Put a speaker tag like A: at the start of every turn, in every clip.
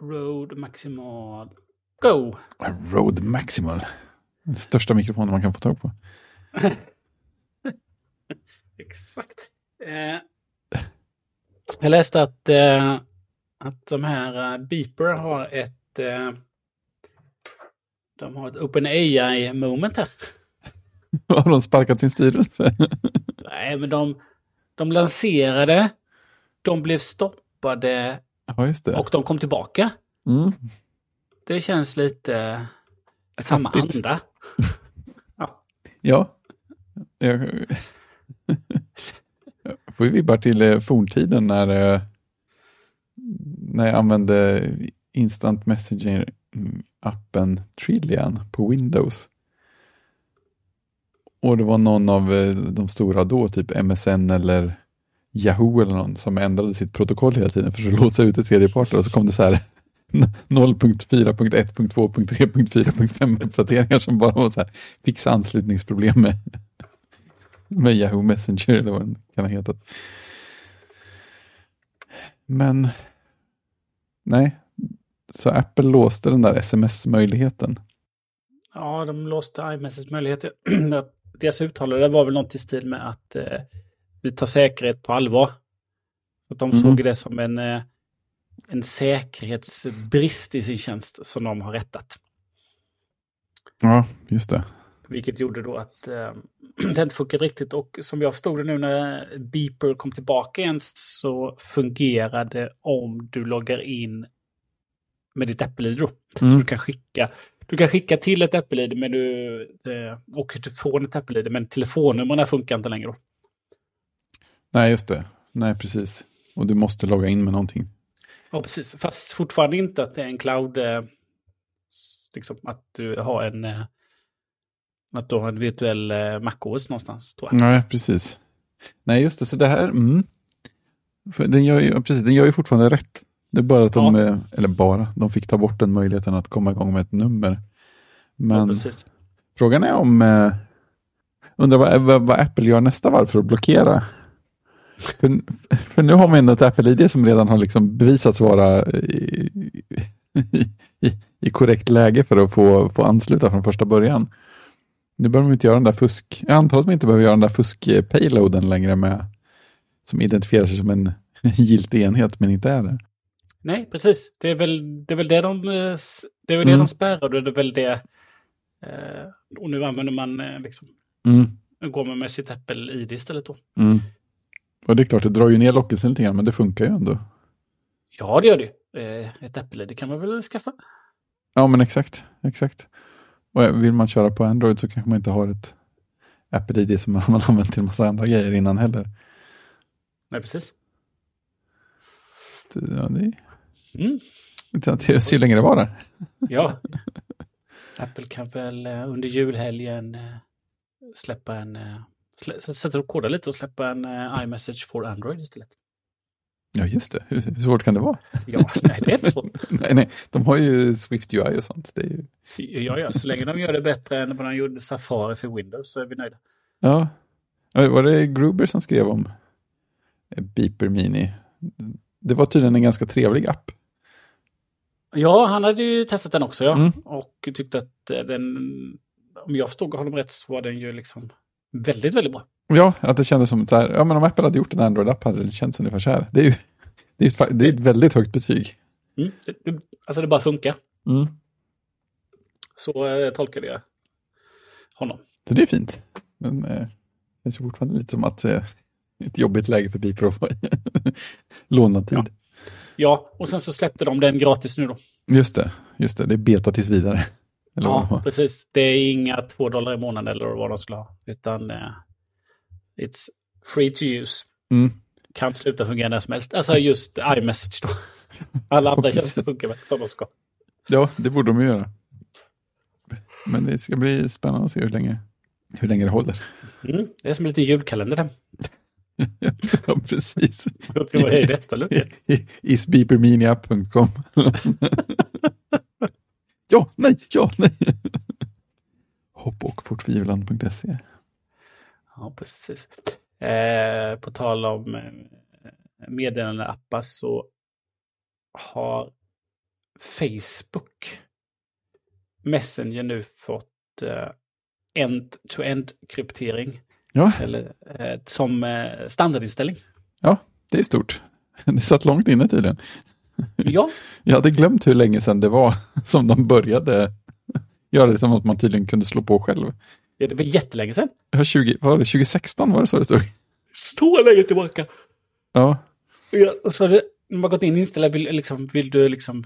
A: Road Maximal Go.
B: Rode Maximal. Den största mikrofonen man kan få tag på.
A: Exakt. Eh, jag läste att, eh, att de här eh, Beeper har ett... Eh, de har ett OpenAI-moment här.
B: Har de sparkat sin styrelse?
A: Nej, men de, de lanserade, de blev stoppade
B: Ja, just det.
A: och de kom tillbaka.
B: Mm.
A: Det känns lite samma
B: Hattigt.
A: anda.
B: Ja. Jag... Jag får ju vibbar till eh, forntiden när, eh, när jag använde instant messaging-appen Trillian på Windows. Och det var någon av eh, de stora då, typ MSN eller Yahoo eller någon, som ändrade sitt protokoll hela tiden för att låsa ut tredjeparter och så kom det så här 0.4.1.2.3.4.5 uppdateringar som bara var så här, fixa anslutningsproblem med, med Yahoo Messenger eller vad den kan ha hetat. Men nej, så Apple låste den där sms-möjligheten.
A: Ja, de låste iMessage-möjligheter. Deras uttalande var väl något i stil med att eh, vi tar säkerhet på allvar. Att de
B: Mhm.
A: såg det som en, eh, en säkerhetsbrist i sin tjänst som de har rättat.
B: Ja, just det.
A: Vilket gjorde då att eh, det inte funkade riktigt. Och som jag förstod det nu när Beeper kom tillbaka igen så fungerade om du loggar in med ditt Apple-id då. Så
B: Mm.
A: du kan skicka, du kan skicka till ett Apple-id men du, eh, och från ett Apple-id men telefonnumren funkar inte längre då.
B: Nej, just det. Nej, precis. Och du måste logga in med någonting.
A: Ja, precis. Fast fortfarande inte att det är en cloud, eh, s- liksom att du har en, eh, att du har en virtuell eh, MacOS någonstans tror jag.
B: Nej, precis. Nej, just det. Så det här, mm. För den, gör ju, ja, precis, den gör ju fortfarande rätt. Det är bara att de, eh, eller bara, de fick ta bort den möjligheten att komma igång med ett nummer.
A: Ja,
B: Men
A: precis.
B: frågan är om, eh, undrar vad, vad, vad Apple gör nästa varv för att blockera. För, för nu har man ändå ett Apple-ID som redan har liksom bevisats vara i, i, i, i korrekt läge för att få, få ansluta från första början. Nu behöver de inte göra den där fusk... Jag antar att de inte behöver göra den där fusk-payloaden längre med som identifierar sig som en giltig enhet men inte är det.
A: Nej, precis. Det är väl det, är väl det de, eh, s- det, är väl det
B: Mm.
A: de spärrar och det är väl det. Eh, och nu använder man eh, liksom, nu går man med sitt Apple-id istället då.
B: Mm. Och det är klart, det drar ju ner lockelsen lite grann men det funkar ju ändå.
A: Ja, det gör det ju. Eh, Ett Apple-id det kan man väl skaffa.
B: Ja, men exakt. exakt. Och vill man köra på Android så kanske man inte har ett Apple-ID som man har använt till en massa andra grejer innan heller.
A: Nej, precis.
B: Så, Ja, det är
A: Mm.
B: inte att jag ser hur länge det var där.
A: Ja. Apple kan väl eh, under julhelgen eh, släppa en... eh, slä- s- Sätta och koda lite och släppa en eh, iMessage for Android istället.
B: Ja, just det. Hur, hur svårt kan det vara?
A: Ja, nej, det är inte så.
B: Nej, nej, de har ju Swift UI och sånt. Det är ju...
A: Ja, ja, så länge de gör det bättre än vad de gjorde Safari för Windows så är vi nöjda.
B: Ja. Ja, Var det Gruber som skrev om Beeper Mini? Det var tydligen en ganska trevlig app.
A: Ja, han hade ju testat den också, ja.
B: Mm.
A: Och tyckte att eh, den, om jag förstod honom rätt, så var den ju liksom väldigt, väldigt bra.
B: Ja, att det kändes som så här, ja men om Apple hade gjort en Android-app hade det känts ungefär så här. Det är ju det är ett, fa- det är ett väldigt högt betyg.
A: Mm. Det, det, alltså det bara funkar.
B: Mm.
A: Så eh, tolkade jag honom.
B: Så det är fint. Men eh, det känns ju fortfarande lite som att eh, ett jobbigt läge för Beeper att få låna tid.
A: Ja, och sen så släppte de den gratis nu då.
B: Just det, just det. Det är beta tills vidare. Eller vad det
A: Ja,
B: var.
A: precis. Det är inga två dollar i månaden eller vad de skulle ha. Utan eh, it's free to use.
B: Mm.
A: Kan sluta fungera när som helst. Alltså just iMessage då. Alla andra
B: precis.
A: tjänster funkar väl som de ska.
B: Ja, det borde de ju göra. Men det ska bli spännande att se hur länge, hur länge det håller.
A: Mm. Det är som en liten julkalender den.
B: ja, precis.
A: Då tror jag det är det efter luckan.
B: I- Isbeeperminiapp.com. ja, nej, ja, nej. Hopp och fortvillan.se.
A: Ja, precis. Eh, på tal om eh, meddelandeappar så har Facebook Messenger nu fått eh, end-to-end kryptering.
B: Ja.
A: Eller, eh, som eh, standardinställning.
B: Det är stort. Det satt långt inne tydligen.
A: Ja,
B: Jag hade glömt hur länge sedan det var som de började göra det som något man tydligen kunde slå på själv.
A: ja, det var jättelänge sedan.
B: Ja, 20, vad var det, 2016 var det så det stod?
A: Så länge tillbaka.
B: Ja,
A: Ja, och så har det, när man gått in och inställt, vill, liksom, vill du liksom,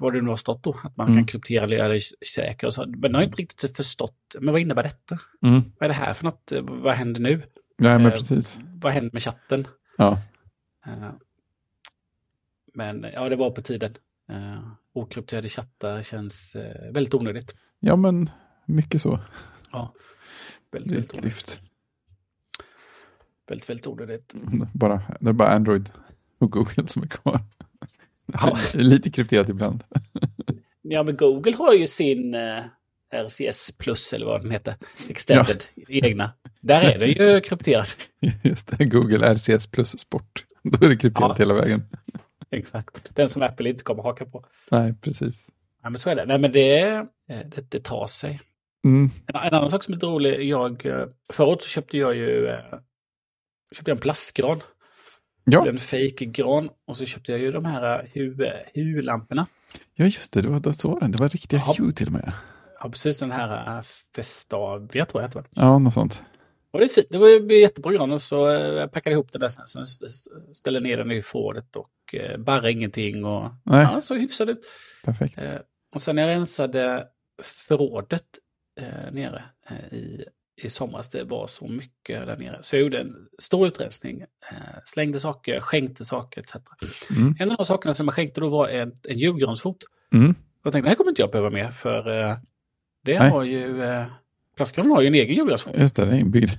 A: vad det nu har stått då, att man
B: Mm.
A: kan kryptera eller göra det s- säker och så. Men jag har inte riktigt typ förstått, men vad innebär detta?
B: mm.
A: Vad är det här för något? Eh, Vad händer nu?
B: ja men
A: Eh,
B: precis.
A: Vad händer med chatten?
B: Ja.
A: Eh, Men eh, ja, det var på tiden. Eh, Okrypterade chattar känns eh, väldigt onödigt.
B: ja, men mycket så.
A: Väldigt,
B: Det är
A: väldigt
B: ett
A: onödigt.
B: lyft.
A: Väldigt, väldigt onödigt.
B: Bara, det är bara Android och Google som är kvar.
A: Ja.
B: Lite krypterat ibland.
A: Ja, men Google har ju sin eh, RCS plus eller vad den heter. Extended, egna. Där är det ju krypterat.
B: Just det, Google RCS plus sport. Då är det krypterat
A: Ja.
B: hela vägen.
A: Exakt. Den som Apple inte kommer haka på.
B: Nej, precis.
A: Nej, men så är det. Nej, men det, eh, det, det tar sig.
B: Mm.
A: En, en annan sak som är lite rolig. Jag, eh, förut så köpte jag ju eh, köpte jag en plastgran.
B: Ja.
A: En fake gran Och så köpte jag ju de här eh, Hu- eh, Hu-lamporna.
B: ja, just det, det var, där såg den. Det var riktiga
A: Ja.
B: Hue till och med.
A: Ja, precis den här eh, Festavia tror jag att det var.
B: Ja, något sånt.
A: Och det är fint. Det var ju en jättebra gran. Och så eh, jag packade ihop den där sen. Så jag st- st- ställde ner den i förrådet och eh, barrade ingenting. Och,
B: Nej,
A: ja, så hyfsad ut.
B: perfekt.
A: Eh, och sen när jag rensade förrådet eh, nere eh, i, i somras, det var så mycket där nere. Så jag gjorde en stor utrensning, eh, slängde saker, skänkte saker etc.
B: Mm.
A: En av de sakerna som jag skänkte då var en, en julgransfot.
B: Mm.
A: Jag tänkte, det här kommer inte jag behöva mer, för eh, det
B: Nej.
A: har ju... Eh, plastgranen har ju en egen julgransfot.
B: Just det, det är inbyggd.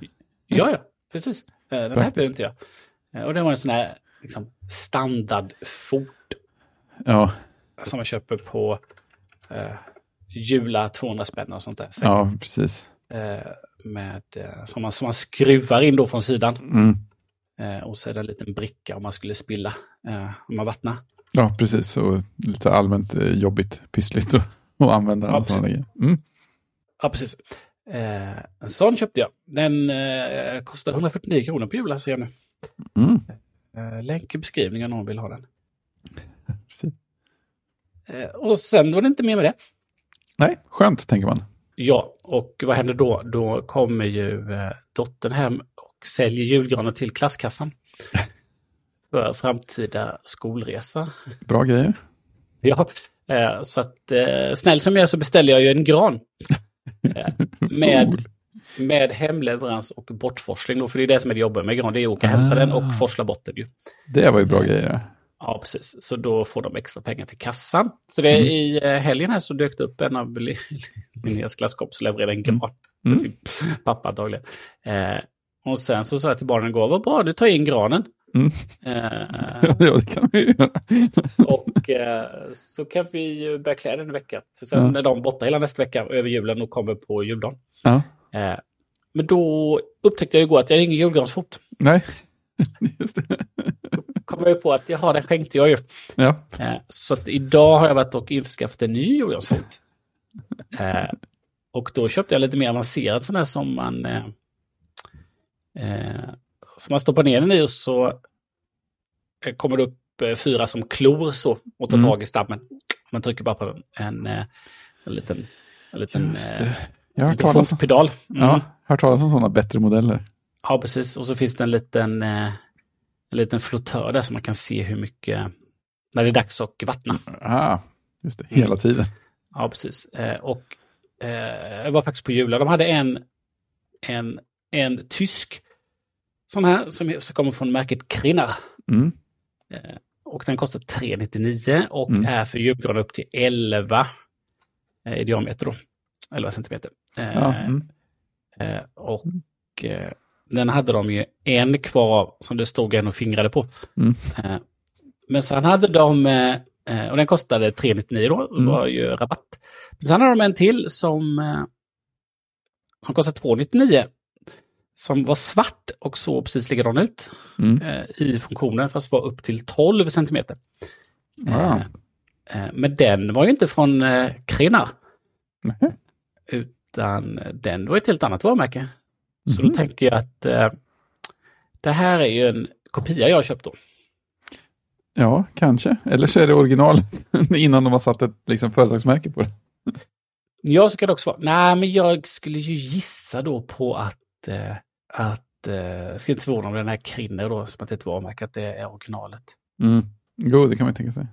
A: Ja, ja, precis. Eh, den här
B: Praktiskt.
A: behöver inte jag. Eh, och det var en sån här liksom, standardfot
B: Ja,
A: som man köper på eh, Jula 200 spänn och sånt där. Så,
B: ja precis.
A: eh, med, eh, som, man, som man skruvar in då från sidan.
B: Mm.
A: Eh, och så är det en liten bricka om man skulle spilla, eh, om man vattnar.
B: Ja, precis. Och lite så allmänt eh, jobbigt, pyssligt och, och använda den.
A: Ja,
B: och sådana grejer. Mm.
A: Ja, precis. Eh, en sån köpte jag. Den eh, kostar 149 kronor på Jula, ser jag nu.
B: Mm.
A: Eh, länk i beskrivningen om någon vill ha den.
B: Precis.
A: Eh, och sen var det inte mer med det.
B: Nej, skönt tänker man.
A: Ja, och vad händer då? Då kommer ju eh, dottern hem och säljer julgranen till klasskassan. För framtida skolresa.
B: Bra grejer.
A: Ja, eh, så att eh, snäll som jag är så beställer jag ju en gran. Eh, Med,
B: Cool.
A: med hemleverans och bortforsling då, för det är det som är det jobbiga med gran, det är att åka och hämta
B: Ah.
A: den och forsla bort den ju.
B: Det var ju bra grejer.
A: Ja, precis. Så då får de extra pengar till kassan. Så det är
B: Mm.
A: i eh, helgen här så dök det upp en av Lin- Linneas klasskompis och levererade en gran. till
B: Mm.
A: Sin pappa antagligen. Eh, och sen så sa jag till barnen igår, vad bra, du tar in granen.
B: Mm.
A: Eh,
B: Ja, det kan vi ju göra.
A: och eh, så kan vi ju börja klä den en vecka. För sen
B: Ja.
A: är de borta hela nästa vecka över julen och kommer på juldagen.
B: Ja.
A: Eh, men då upptäckte jag igår att jag har ingen julgransfot.
B: Nej, just det.
A: Kom jag ju på att jaha, den skänkte jag ju.
B: Ja,
A: Eh, Så att idag har jag varit och införskaffat en ny julgransfot. Eh, och då köpte jag lite mer avancerad sån här som man... Eh, eh, som man stoppar ner den i och så eh, kommer det upp eh, fyra som klor så och tar
B: Mm.
A: tag i stammen. Man trycker bara på en, eh, en liten, en liten,
B: just
A: eh,
B: det. Jag har hört
A: liten
B: talas om,
A: fotpedal. Mm.
B: ja, hört talas om sådana bättre modeller.
A: Ja, precis. Och så finns det en liten, eh, en liten flottör där så man kan se hur mycket, när det är dags att vattna.
B: Ah, just det,
A: Mm.
B: hela tiden.
A: Ja, precis. Eh, och eh, jag var faktiskt på Jula. De hade en, en, en tysk sån här som, som kommer från märket Krinner.
B: Mm.
A: Och den kostar 399 och
B: Mm.
A: är för julgran upp till 11 eh, i diameter då. 11 centimeter. Eh,
B: Ja, mm.
A: eh, och eh, den hade de ju en kvar av som det stod en och fingrade på.
B: Mm.
A: Eh, men sen hade de, eh, eh, och den kostade 399 då, det
B: Mm.
A: var ju rabatt. Men sen hade de en till som, eh, som kostade 299 som var svart och såg precis likadan ut
B: Mm.
A: eh, i funktionen, fast var upp till 12 centimeter.
B: Ah,
A: Eh, Eh, Men den var ju inte från eh, Krina, Eh.
B: Nej.
A: utan den var ett helt annat varumärke. Så
B: Mhm.
A: då tänker jag att eh, det här är ju en kopia jag har köpt då.
B: Ja, kanske. Eller så är det original innan de har satt ett liksom, företagsmärke på det.
A: Ja, så kan det också vara. Nej, men jag skulle ju gissa då på att... Eh, att eh, jag skulle inte förvåna om den här Krinner då, som att det är ett varumärke, att det är originalet.
B: Mm. Jo, det kan man ju tänka sig.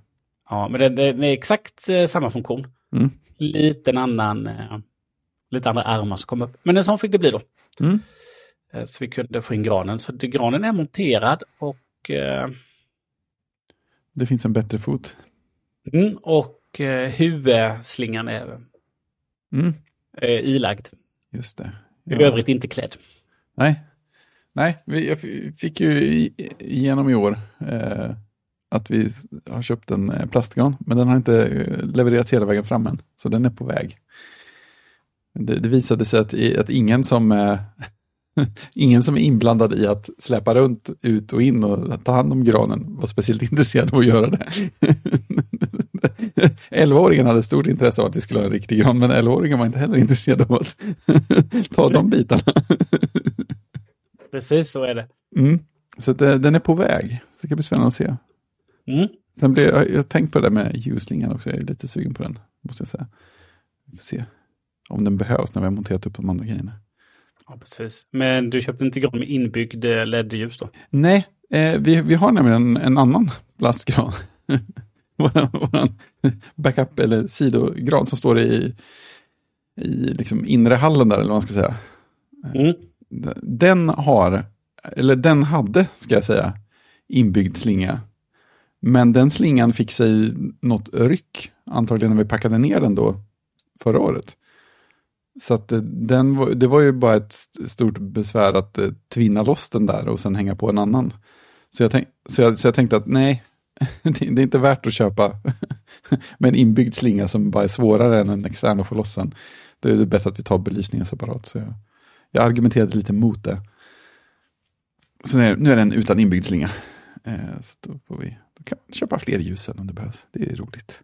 A: Ja, men den, den är exakt eh, samma funktion.
B: Mm.
A: Lite en annan... Eh, lite andra armar som kom upp. Men en sån fick det bli då.
B: Mm.
A: Eh, så vi kunde få in granen. Så det, granen är monterad och... Eh,
B: Det finns en bättre fot.
A: mm, och eh, huvudslingan är
B: Mm.
A: eh, ilagd.
B: Just det.
A: I
B: Ja.
A: övrigt inte klädd.
B: Nej, Nej vi, jag f- fick ju i- igenom i år eh, att vi s- har köpt en eh, plastgran, men den har inte eh, levererats hela vägen fram än, så den är på väg. Det, det visade sig att, i- att ingen, som, eh, ingen som är inblandad i att släpa runt ut och in och ta hand om granen var speciellt intresserad av att göra det. 11-åringen hade stort intresse av att vi skulle ha en riktig gran, men 11-åringen var inte heller intresserad av att ta de bitarna.
A: Precis så är det.
B: Mm. Så att, eh, den är på väg. Så det ska bli spännande att se.
A: Mm.
B: Sen blev, jag jag har tänkt på det där med ljusslingan också. Jag är lite sugen på den, måste jag säga. Vi får se om den behövs när vi har monterat upp de andra grejerna.
A: Ja, precis. Men du köpte inte gran med inbyggd eh, LED-ljus då?
B: Nej, eh, vi, vi har nämligen en, en annan plastgran. våran, våran backup eller sidogran som står i, i liksom inre hallen där, eller vad man ska säga.
A: Mm.
B: Den har, eller den hade, ska jag säga, inbyggd slinga. Men den slingan fick sig något ryck, antagligen när vi packade ner den då förra året. Så att eh, den var, det var ju bara ett st- stort besvär att eh, tvinna loss den där och sen hänga på en annan. Så jag, tänk, så jag, så jag tänkte att nej, det, det är inte värt att köpa med en inbyggd slinga som bara är svårare än en extern att få loss den. Då är det bättre att vi tar belysningen separat. Så jag, jag argumenterade lite mot det. Så nu är, nu är den utan inbyggd slinga. Eh, så då, får vi, då kan man köpa fler ljus sen om det behövs. Det är roligt.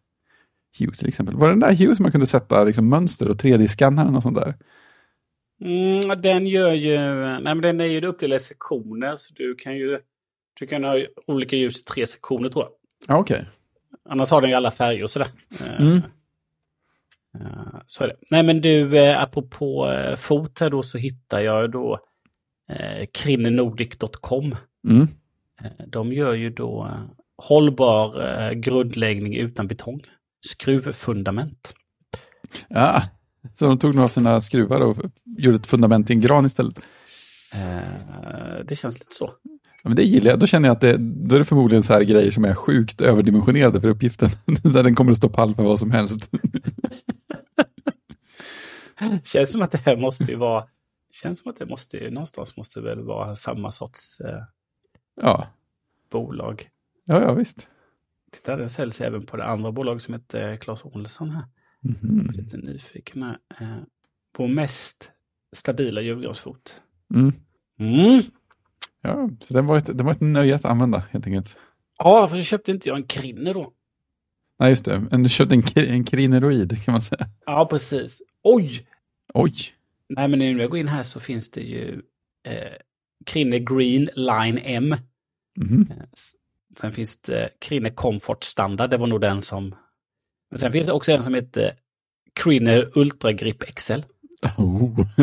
B: Hue till exempel. Var det den där Hue som man kunde sätta liksom, mönster och 3D-skannaren och sånt där?
A: Mm, den gör ju... Nej, men den är ju uppdelad i sektioner. Så du kan ju... Du kan ha olika ljus i tre sektioner tror jag.
B: Ja, okej.
A: Annars har den ju alla färger och sådär. Eh,
B: Mm.
A: eh, Så är det. Nej men du, eh, apropå eh, fot här då så hittar jag ju då eh, krinnenordic.com.
B: Mm.
A: Eh, De gör ju då eh, hållbar eh, grundläggning utan betong. Skruvfundament.
B: Ja. Ah. Så de tog några av sina skruvar och gjorde ett fundament till en gran istället.
A: Eh, Det känns lite så.
B: Ja, men det gillar jag. Då känner jag att det, då är det förmodligen så här grejer som är sjukt överdimensionerade för uppgiften. där den kommer att stå pall för vad som helst.
A: Känns som att det här måste ju vara... Känns som att det måste ju... Någonstans måste det väl vara samma sorts eh,
B: Ja,
A: bolag.
B: ja, ja visst.
A: Titta, den säljs även på det andra bolaget som heter Clas Ohlson här.
B: Mhm.
A: Jag är lite nyfiken här. Eh, vår mest stabila julgransfot.
B: Mm.
A: Mm.
B: Ja, så den var, ett, den var ett nöje att använda helt enkelt.
A: Ja, för köpte inte jag en krinne då.
B: Nej, just det. En, du köpte en, kri- en krineroid kan man säga.
A: Ja, precis. Oj!
B: Oj!
A: Nej, men nu när jag går in här så finns det ju eh, krinne green line M.
B: Mhm.
A: Eh, s- Sen finns det krinne comfort standard. Det var nog den som... Men sen finns det också en som heter krinne ultra grip XL.
B: Oh.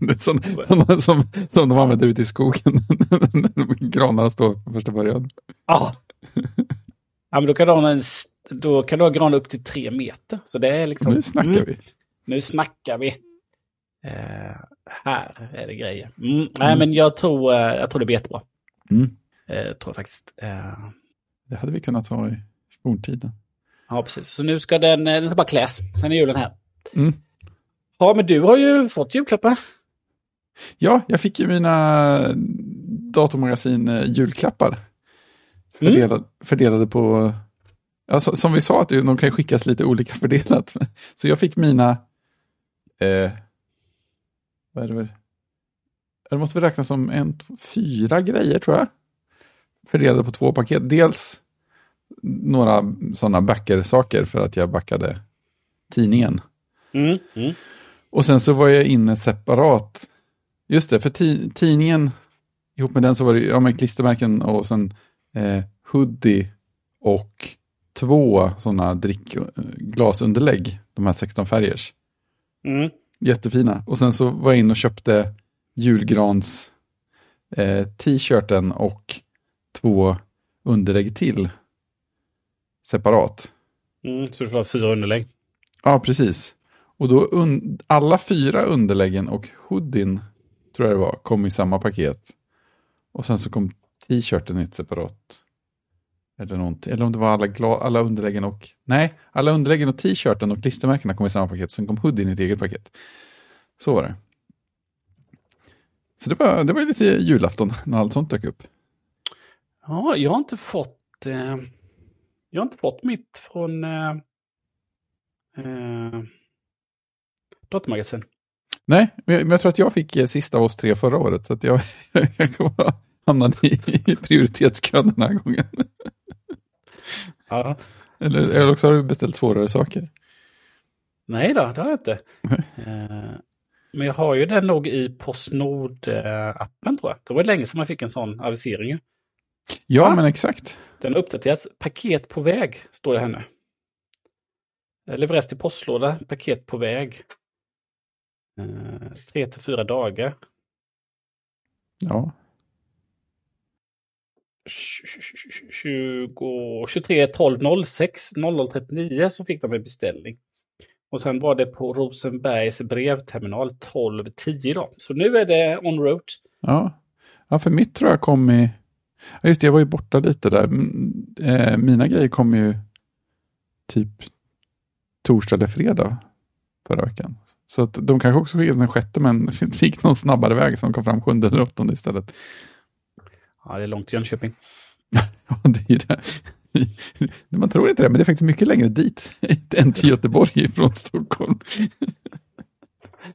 B: Det är sån, såna som, som de använder ute i skogen när granarna står på första början.
A: Ja. ja, men då kan du ha en... s- Då kan du ha gran upp till tre meter. Så det är liksom...
B: Nu snackar
A: Mm.
B: vi.
A: Nu snackar vi. Eh, här är det grejer. Mm, Nej,
B: Mm.
A: men jag tror, eh, jag tror det blir jättebra.
B: Mm.
A: Eh, tror jag faktiskt. Eh,
B: Det hade vi kunnat ha i forntiden.
A: ja, precis. Så nu ska den, eh, den ska bara kläs. Sen är julen här.
B: Mm.
A: Ja, men du har ju fått julklappar.
B: Ja, jag fick ju mina datormagasin eh, julklappar.
A: Mm.
B: Fördelad, Fördelade på... Ja, så, som vi sa, att de kan skickas lite olika fördelat. Så jag fick mina... Eh, vad är det väl? Det måste väl räknas som en, två, fyra grejer tror jag. Fördelade på två paket. Dels några sådana backer-saker för att jag backade tidningen.
A: Mm. Mm.
B: Och sen så var jag inne separat. Just det, för ti- tidningen, ihop med den så var det ja, men klistermärken och sen eh, hoodie och två sådana drickglasunderlägg, de här 16 färgers.
A: Mm.
B: Jättefina. Och sen så var jag in och köpte julgrans eh, t-shirten och två underlägg till. Separat.
A: Mm. Så du får ha fyra underlägg.
B: Ja, precis. Och då un- alla fyra underläggen och hoodien, tror jag det var, kom i samma paket. Och sen så kom t-shirten i ett separat. Eller någonting. Eller om det var alla, gla- alla underläggen och... Nej, alla underläggen och t-shirten och klistermärkena kom i samma paket. Sen kom hoodien i ett eget paket. Så var det. Så det var, det var lite julafton när allt sånt dök upp.
A: Ja, jag har inte fått... Eh, jag har inte fått mitt från... Eh, eh, Datamagasin.
B: Nej, men jag, men jag tror att jag fick eh, sista av oss tre förra året, så att jag, jag kommer att hamna i, i prioritetskön den här gången.
A: Ja.
B: Eller, eller också har du beställt svårare saker.
A: Nej då, det har jag inte. Eh, men jag har ju den nog i Postnord-appen tror jag. Det var länge sedan man fick en sån avisering. ju.
B: Ja,
A: Va?
B: men exakt.
A: Den har uppdaterats. Paket på väg, står det här nu. Eh, Leverans till postlåda, paket på väg. Eh, Tre till fyra dagar.
B: Ja.
A: 20, 23 12 06 0039 så fick de en beställning. Och sen var det på Rosenbergs brevterminal 1210 då. Så nu är det on route.
B: Ja. ja, för mitt tror jag kom i... Ja, just det, jag var ju borta lite där. Mm, eh, Mina grejer kom ju typ torsdag eller fredag förra veckan. Så att de kanske också skickades den sjätte, men fick någon snabbare väg som kom fram sjunde eller åttonde istället.
A: Ja, det är långt till Jönköping.
B: Ja, det är ju det. Man tror inte det, men det är faktiskt mycket längre dit än till Göteborg från Stockholm.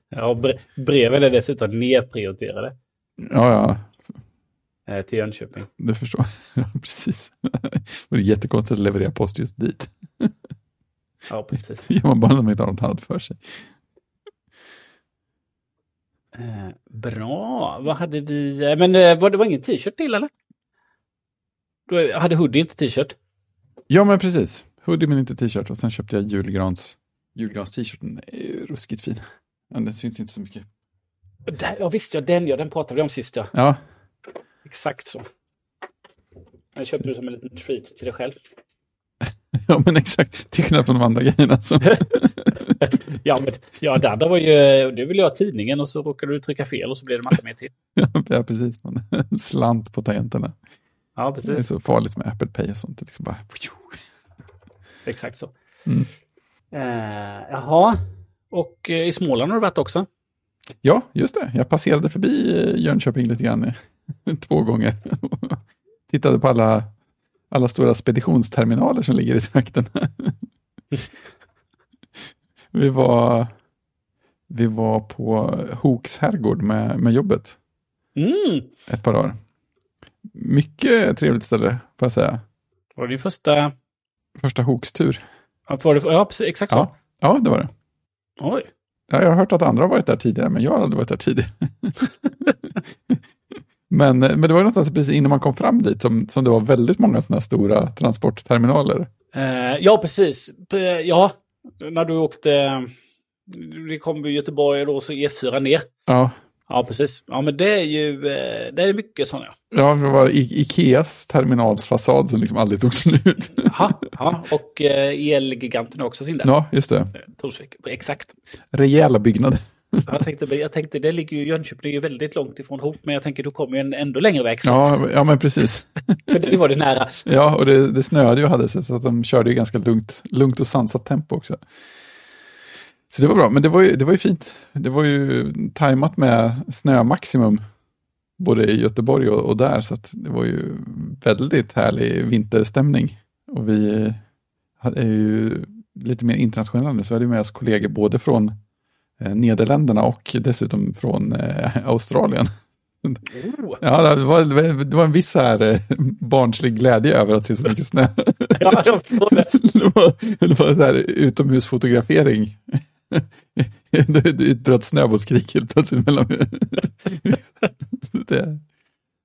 A: Ja, och bre- breven är dessutom nedprioriterade
B: Ja, ja,
A: eh, till Jönköping.
B: det förstår jag. Ja, Precis. Och det är jättekonstigt att leverera post just dit.
A: Ja, precis.
B: Det gör man bara när man inte har något annat för sig.
A: Eh, bra, vad hade vi? eh, Men eh, var det var ingen t-shirt till eller? Då hade Hoodie inte t-shirt.
B: Ja, men precis. Hoodie men inte t-shirt och sen köpte jag julgrans, julgrans t-shirten. Den är ju Ruskigt fin. Ja, den syns inte så mycket.
A: Där, ja, visst ja, den ja, den pratade vi om sist ja.
B: Ja,
A: Exakt så. Jag köpte det som en liten treat till dig själv.
B: ja men exakt. Till skillnad från de andra grejerna. Så.
A: Ja, men ja, det andra var ju, du ville jag ha tidningen och så råkade du trycka fel och så blev det massa mer tid.
B: Ja, precis. Man slant på tangenterna.
A: Ja,
B: Det är
A: precis.
B: så farligt med Apple Pay och sånt. Det liksom bara...
A: Exakt så.
B: Mm.
A: Eh, jaha, och eh, i Småland har du varit också?
B: Ja, just det. Jag passerade förbi eh, Jönköping lite grann eh, två gånger. Tittade på alla, alla stora speditionsterminaler som ligger i trakten. vi, var, vi var på Hoks herrgård med, med jobbet
A: Mm.
B: ett par dagar. Mycket trevligt ställe, får jag säga.
A: Var det din första...
B: Första Hoks-tur.
A: Var det, ja, precis, exakt så.
B: Ja, ja, det var det.
A: Oj.
B: Ja, jag har hört att andra har varit där tidigare, men jag har aldrig varit där tidigare. men, eh, men det var ju någonstans precis innan man kom fram dit som, som det var väldigt många sådana här stora transportterminaler.
A: Eh, ja, precis. P- eh, Ja, när du åkte... Det kom ju Göteborg och då så E4 ner.
B: Ja,
A: Ja, precis. Ja, men det är ju... eh, Det är mycket sådana. ja.
B: ja det var I- Ikeas terminalsfasad som liksom aldrig tog slut.
A: Aha, ja, och eh, Elgiganten har också sin där.
B: ja, just det.
A: Torsvik. Exakt.
B: Rejäla byggnader.
A: Jag tänkte, jag tänkte, det ligger ju Jönköping, det är ju väldigt långt ifrån Hop, men jag tänker då kommer ju en ändå längre väg. Så.
B: Ja, ja, men precis.
A: För det var det nära.
B: Ja, och det, det snöade ju och hade sig, så att de körde ju ganska lugnt, lugnt och sansat tempo också. Så det var bra, men det var ju, det var ju fint. Det var ju tajmat med snömaximum, både i Göteborg och, och där, så att det var ju väldigt härlig vinterstämning. Och vi eh, hade- är ju lite mer internationella nu, så vi hade med oss kollegor både från eh, Nederländerna och dessutom från eh, Australien.
A: Oh.
B: Ja, det var, det var en viss så här eh, barnslig glädje över att se så mycket snö.
A: Ja, jag förstår det.
B: Det var, det var så här utomhusfotografering. Det det utbröt snöbollskrig helt plötsligt mellan det,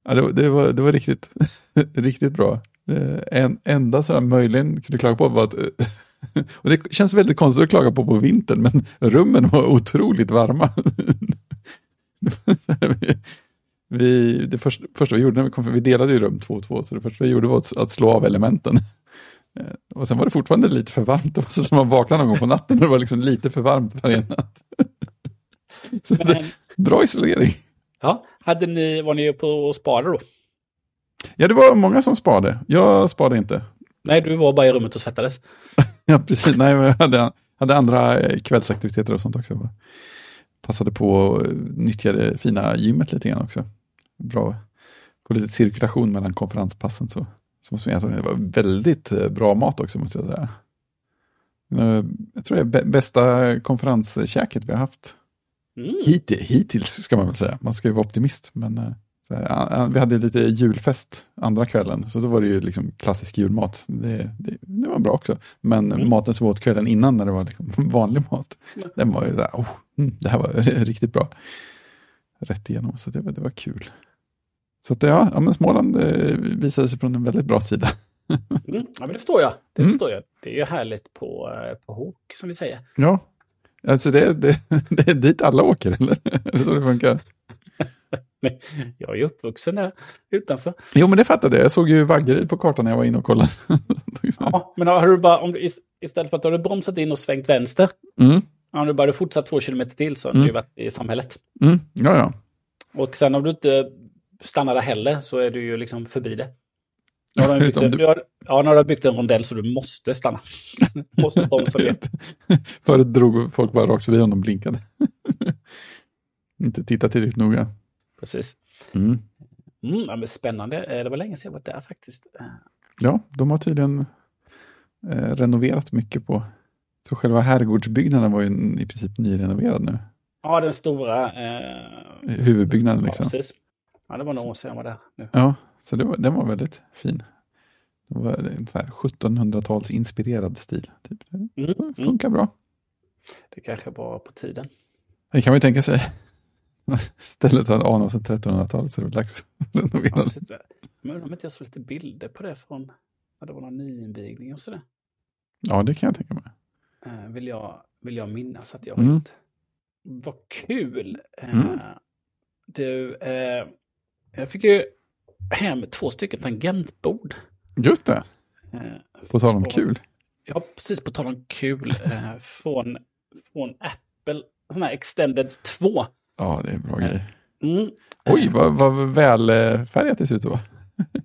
B: ja, det, var- det, var, det var riktigt, riktigt bra. Eh, En enda som jag möjligen kunde klaga på var att, eh, och det känns väldigt konstigt att klaga på på vintern, men rummen var otroligt varma. Vi, det första, första vi gjorde när vi kom, vi delade ju rum två och två, så det första vi gjorde var att, att slå av elementen. Eh, Och sen var det fortfarande lite för varmt, det var så att man vaknade någon gång på natten och det var liksom lite för varmt varje natt. Så det,
A: Men,
B: bra isolering.
A: ja, hade ni, var ni på och sparade då?
B: Ja, det var många som sparade. Jag sparade inte.
A: Nej, du var bara i rummet och svettades.
B: Ja, precis. Nej, men jag hade, hade andra eh, kvällsaktiviteter och sånt också. Jag Passade på och eh, nyttjade fina gymmet lite grann också. Bra. Få lite cirkulation mellan konferenspassen. Så, så måste jag, säga att det var väldigt eh, bra mat också, måste jag säga. Eh, Jag tror det är bä- bästa konferenskäket vi har haft.
A: Mm.
B: Hitti- Hittills ska man väl säga. Man ska ju vara optimist. Men eh, så här, a- a- vi hade lite julfest andra kvällen. Så då var det ju liksom klassisk julmat. Det, det, det var bra också. Men
A: Mm.
B: maten som vi åt kvällen innan när det var liksom vanlig mat. Den var ju där, oh, mm, det här var riktigt bra. Rätt igenom. Så det var, det var kul. Så att, ja, ja, men Småland eh, visade sig från en väldigt bra sida.
A: Mm. Ja, men det förstår jag. Det
B: Mm.
A: förstår jag. Det är ju härligt på, eh, på hok, som vi säger.
B: Ja. Alltså det, det, det är dit alla åker, eller? Är det så det funkar?
A: Jag är ju uppvuxen där utanför.
B: Jo, men det fattade jag. Jag såg ju Vaggeryd på kartan när jag var inne och kollade.
A: Ja, men har du bara, om du, ist- istället för att du hade bromsat in och svängt vänster,
B: Mm,
A: om du bara hade fortsatt två kilometer till så hade
B: Mm.
A: du varit i samhället.
B: mm, ja, ja.
A: Och sen om du inte stannar där heller så är du ju liksom förbi det. Nu har
B: ja
A: de byggt,
B: utom
A: en-
B: du,
A: du har, ja, nu har de byggt en rondell så du måste stanna. måste bromsa ner.
B: förut drog folk bara rakt förbi om de blinkade. Inte titta tillräckligt noga.
A: Precis.
B: Mm.
A: Mm, ja, men spännande. Eh, Det var länge sedan jag var där faktiskt. Eh,
B: Ja, de har tydligen eh, renoverat mycket på... Jag tror själva herrgårdsbyggnaden var ju i princip nyrenoverad nu.
A: Ja, den stora... Eh,
B: Huvudbyggnaden
A: ja,
B: liksom.
A: precis. Ja, det var några år sedan jag var där. Nu.
B: Ja, så det var, den var väldigt fin. Det var en så här 1700-tals inspirerad stil. Typ.
A: Mm,
B: Det
A: mm,
B: funkar bra.
A: det kanske var på tiden.
B: Det kan man ju tänka sig. Stället hade anor sedan 1300-talet så det var dags att renovera.
A: Ja, precis. Men undrar om inte jag såg lite bilder på det från... Ja, det var någon nyinvigning och sådär.
B: ja, det kan jag tänka mig.
A: Eh, vill, jag, vill jag minnas att jag har
B: Mm.
A: gjort. Vad kul! Eh,
B: Mm.
A: Du, eh, jag fick ju hem två stycken tangentbord.
B: Just det,
A: Eh,
B: på tal om
A: Ja.
B: kul.
A: jag har precis på tal om kul eh, från, från Apple, sån här Extended 2.
B: Ja, det är en bra grej.
A: Mm.
B: Oj, vad, vad välfärgat det ser ut att vara.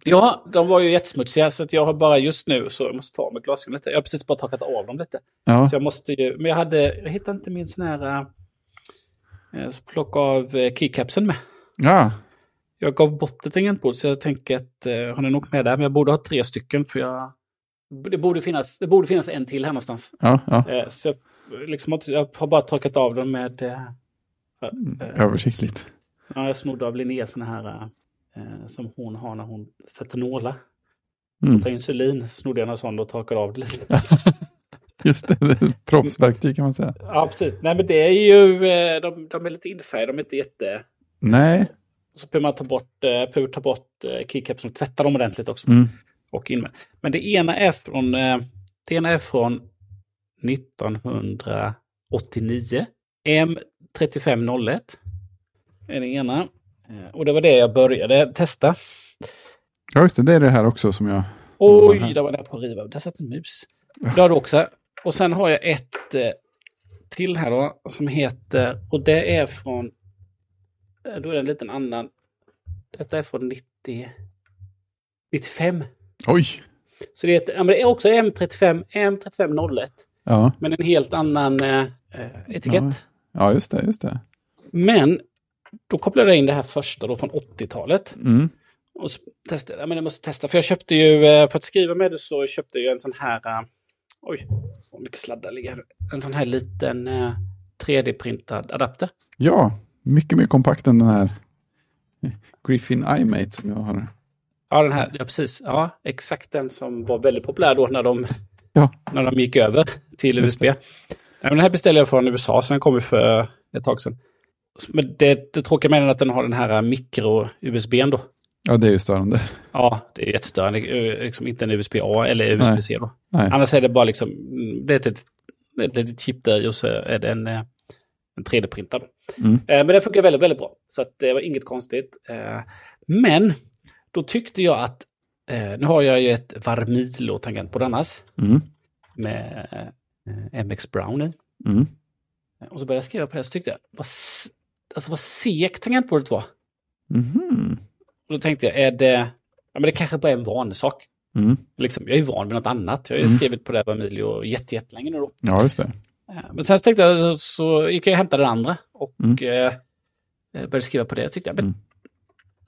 A: Ja, de var ju jättesmutsiga så att jag har bara just nu så jag måste ta av mig glasögonen lite. Jag har precis bara torkat av dem lite.
B: Ja,
A: Så jag måste ju, men jag hade, jag hittade inte min sån här, eh, så plocka av eh, keycapsen med.
B: ja.
A: Jag gav bort ett tangentbord så jag tänker att eh, har ni nog med där? Men jag borde ha tre stycken för jag... Det borde finnas, det borde finnas en till här någonstans.
B: ja, ja.
A: Eh, så jag, liksom, har inte- jag har bara torkat av dem med... Eh, eh,
B: översiktligt.
A: ja, jag snodde av Linnea såna här eh, som hon har när hon sätter nålar.
B: Mm.
A: Tar insulin, snodde jag någon sån och torkade av det lite.
B: Just det, det är ett proffsverktyg kan man säga.
A: Ja, precis. Nej, men det är ju... Eh, de, de är lite infärgade, de är inte jätte...
B: Nej,
A: Så behöver man ta bort, eh, behöver ta bort eh, keycapsen och tvätta dem ordentligt också.
B: mm.
A: och in med. Men det ena är från, eh, det ena är från 1989. M3501 är den ena. Eh, Och det var det jag började testa.
B: ja, just det, det är det här också som jag...
A: Oj, där var det på att riva. Där satt en mus. Det har du också. Och sen har jag ett eh, till här då, som heter, och det är från, eh, då är det en liten annan. Detta är från 90, 95.
B: Oj!
A: Så det är, ett, ja, men det är också M35, M3501,
B: Ja,
A: men en helt annan eh, eh, etikett.
B: ja just det, just det.
A: Men då kopplade jag in det här första då från 80-talet.
B: Mm.
A: Och så testade, ja, men jag måste testa, för jag köpte ju, eh, för att skriva med det så köpte jag en sån här, eh, oj, vad mycket sladdar ligger här. En sån här liten eh, 3D-printad adapter.
B: Ja, mycket mer kompakt än den här Griffin iMate som jag har.
A: Ja, den här. Ja, precis. Ja, exakt den som var väldigt populär då när de,
B: Ja.
A: när de gick över till
B: Just
A: USB. Nej, men den här beställde jag från USA, så den kom ju för ett tag sedan. Men det, det tråkiga med den är att den har den här mikro-USBn då.
B: Ja, det är ju störande.
A: Ja, det är jättestörande. Eh, Liksom inte en USB-A eller USB-C då.
B: Nej.
A: Annars är det bara liksom, mm, det är ett litet, det är ett litet chip där i och så är det en, eh, en 3D-printad.
B: Mm.
A: Men den funkar väldigt, väldigt bra. Så att det var inget konstigt. Eh, Men då tyckte jag att, eh, nu har jag ju ett Varmilo-tangent på annars
B: Mm.
A: med eh, MX Brown i.
B: Mm.
A: Och så började jag skriva på det så tyckte jag, vad, s- alltså vad segt tangentbordet var.
B: Mhm.
A: Och då tänkte jag, är det, ja men det kanske bara är en vanlig sak.
B: Mm.
A: Liksom, jag är ju van vid något annat. Jag har ju
B: Mm.
A: skrivit på det här Varmilo jätte, jättelänge nu då.
B: Ja, just det. Mm.
A: Eh, Men sen så tänkte jag, så- så gick jag och hämtade det andra och
B: Mm.
A: eh, började skriva på det. Jag tyckte, men
B: Mm.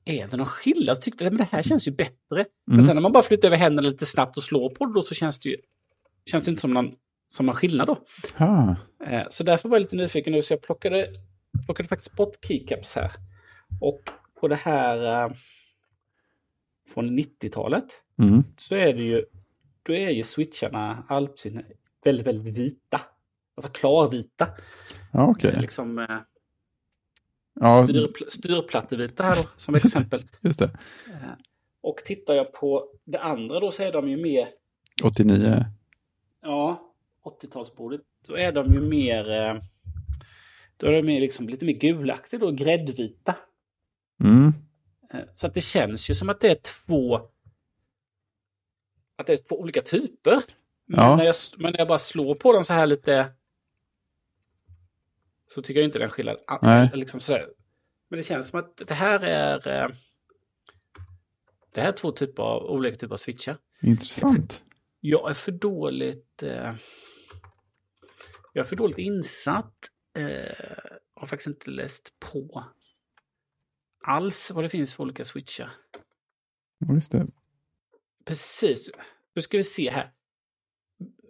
A: är det någon skillnad? Jag tyckte, men det här känns ju bättre. Men
B: Mm.
A: sen när man bara flyttar över händerna lite snabbt och slår på det då så känns det ju känns det inte som någon, som någon skillnad då.
B: Ah.
A: Eh, så därför var jag lite nyfiken nu så jag plockade, plockade faktiskt bort keycaps här. Och på det här eh, från 90-talet
B: Mm.
A: så är det ju, då är ju switcharna alpsina väldigt, väldigt vita. Alltså klarvita.
B: Ja, okej.
A: Liksom eh,
B: Ja,
A: styrpl- styrplattevita här då, som exempel.
B: just det.
A: Och tittar jag på det andra då så är de ju mer,
B: 89.
A: ja, 80-talsbordet, då är de ju mer, eh, då är de mer liksom lite mer gulaktiga då, gräddvita.
B: Mm.
A: Eh, Så att det känns ju som att det är två, att det är två olika typer. Men,
B: Ja.
A: när, jag, s- men när jag bara slår på dem så här lite, så tycker jag inte den skillnad. a-
B: Nej.
A: Liksom sådär. Men det känns som att det här är, eh, det här är två typer av, olika typer av switchar.
B: Intressant.
A: Jag är för dåligt... Eh, jag är för dåligt insatt. Eh, har faktiskt inte läst på alls vad det finns för olika switchar.
B: Ja, Just det.
A: Precis. Nu ska vi se här.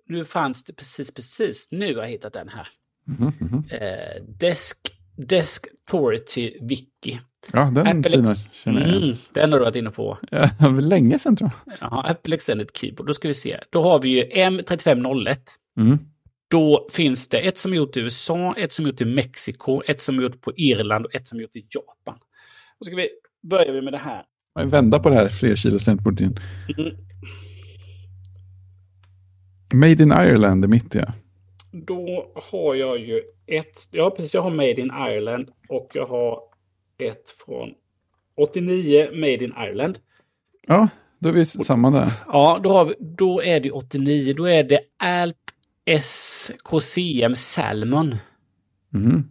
A: Nu fanns det precis, precis. Nu har jag hittat den här.
B: Mhm, mhm.
A: Eh, Desk, Desk Authority Wiki.
B: Ja, den
A: Apple-
B: sidan känner jag igen.
A: Mm, den har du varit inne på.
B: Ja, det var länge sedan tror jag.
A: Jaha, Apple Extended Keyboard. Då ska vi se. Då har vi ju M3501.
B: Mm.
A: Då finns det ett som är gjort i USA, ett som är gjort i Mexiko, ett som är gjort på Irland och ett som är gjort i Japan. Då ska vi börja med det här.
B: Jag vända på det här fler kilo tangentbordet igen.
A: Mm.
B: Made in Ireland är mitt ja.
A: Då har jag ju ett, ja precis, jag har Made in Ireland och jag har ett från 89 Made in Ireland.
B: Ja, då är vi samma där.
A: Ja, då, har vi, då är det 89, då är det Alp SKCM Salmon.
B: Mhm.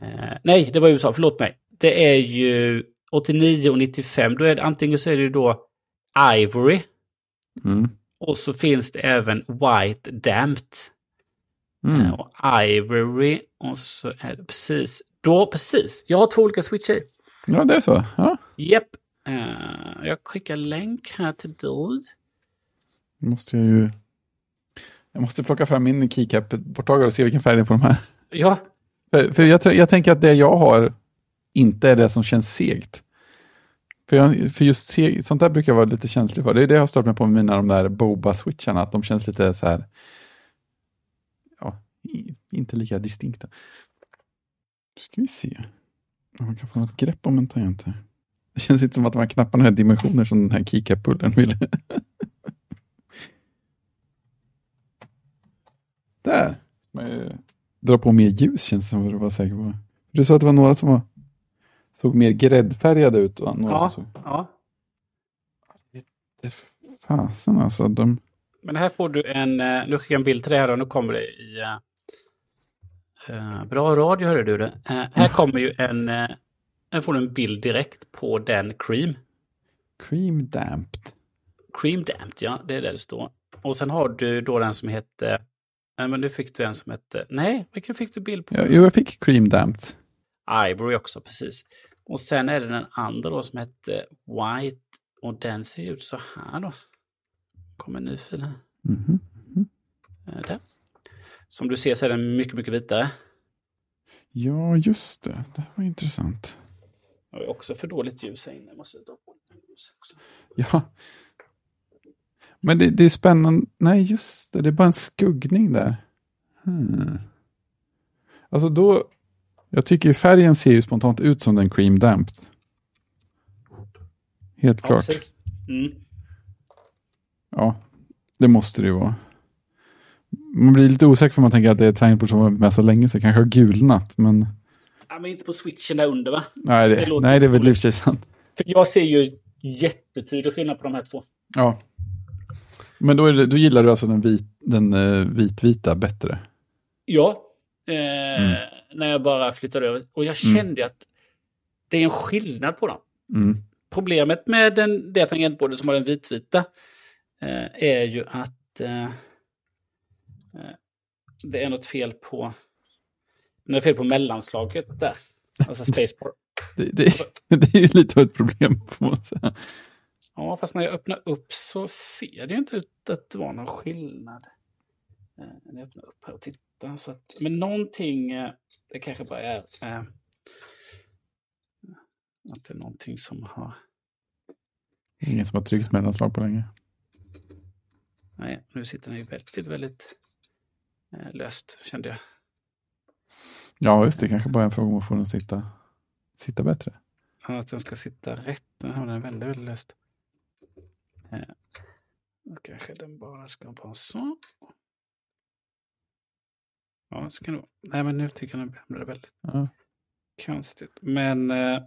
A: Eh, nej, det var USA, förlåt mig. Det är ju 89 och 95, då är det antingen så är det ju då Ivory
B: Mm.
A: och så finns det även White Damped. Eh,
B: Mm.
A: Och Ivory och så är det precis, då precis, jag har två olika switchar i.
B: Ja, det är så. Ja.
A: Japp. Eh, jag skickar länk här till dig.
B: Då måste jag ju... Jag måste plocka fram min keycap-borttagare och se vilken färg det är på de här.
A: Ja,
B: För, för jag, tror- jag tänker att det jag har inte är det som känns segt. För, jag, för just seg, sånt där brukar jag vara lite känslig för. Det är det jag har stört mig på med mina de där Boba-switcharna, att de känns lite så här... Ja, i- inte lika distinkta. Nu ska vi se om man kan få något grepp om en tangent här. Det känns inte som att de här knapparna har dimensioner som den här keycap-pullen ville. där! Man ju dra på mer ljus känns det som för att vara säker på. Du sa att det var några som var, såg mer gräddfärgade ut. Och några
A: Ja.
B: som såg,
A: ja.
B: det fasen alltså. De,
A: Men här får du en, eh, nu skickar jag en bild till dig här och nu kommer det i... eh, eh, bra radio hörde du det. Eh, här kommer ju en, eh, här får du en bild direkt på den cream.
B: cream damped.
A: Cream Damned, ja, det är där det står. Och sen har du då den som hette, nej men nu fick du en som hette, nej, vilken fick du bild på?
B: Ja, jo, jag fick cream damped.
A: Ivory också, precis. Och sen är det den andra då som hette White och den ser ju ut så här då. Kommer en ny fil här.
B: Mhm.
A: Eh, Där. Som du ser så är den mycket, mycket vitare.
B: Ja, just det. Det här var intressant.
A: Jag har ju också för dåligt ljus här inne. Jag måste dra på lite ljus också.
B: Ja. Men det, det är spännande. Nej, just det. Det är bara en skuggning där. Hmm. Alltså då... Jag tycker ju färgen ser ju spontant ut som den cream damped. Helt klart.
A: precis. Mm.
B: Ja, det måste det ju vara. Man blir lite osäker för man tänker att det är ett tangentbord som har varit med så länge så det kanske har gulnat. Men
A: Ja, men inte på switchen där under va?
B: nej, det,
A: Det låter
B: nej, det är väl
A: otroligt.
B: i och för sig sant.
A: För jag ser ju jättetydlig skillnad på de här två.
B: Ja. Men då, är det, då gillar du alltså den, vit, den eh, vitvita bättre?
A: Ja. Eh, När jag bara flyttade över. Och jag
B: Mm.
A: kände att det är en skillnad på dem.
B: Mm.
A: Problemet med den, det tangentbordet som har den vitvita eh, är ju att eh, eh, det är något fel på det är fel på mellanslaget där. Alltså spacebar.
B: Det, det, det är ju lite av ett problem får man säga.
A: Ja, fast när jag öppnar upp så ser det ju inte ut att det var någon skillnad. Eh, när jag öppnar upp här och tittar. Så att, men någonting, eh, det kanske bara är eh, att det är någonting som har...
B: Ingen som har tryckt mellanslag på länge.
A: Nej, nu sitter den ju väldigt, väldigt eh, löst kände jag.
B: Ja, just det. Kanske bara en fråga om att få den att sitta, sitta bättre.
A: Ja, Att den ska sitta rätt. Den har den väldigt, väldigt löst. Eh, då kanske den bara ska vara så. Ja, så kan det vara. Nej, men nu tycker jag den blir väldigt
B: Ja.
A: konstigt. Men... Eh,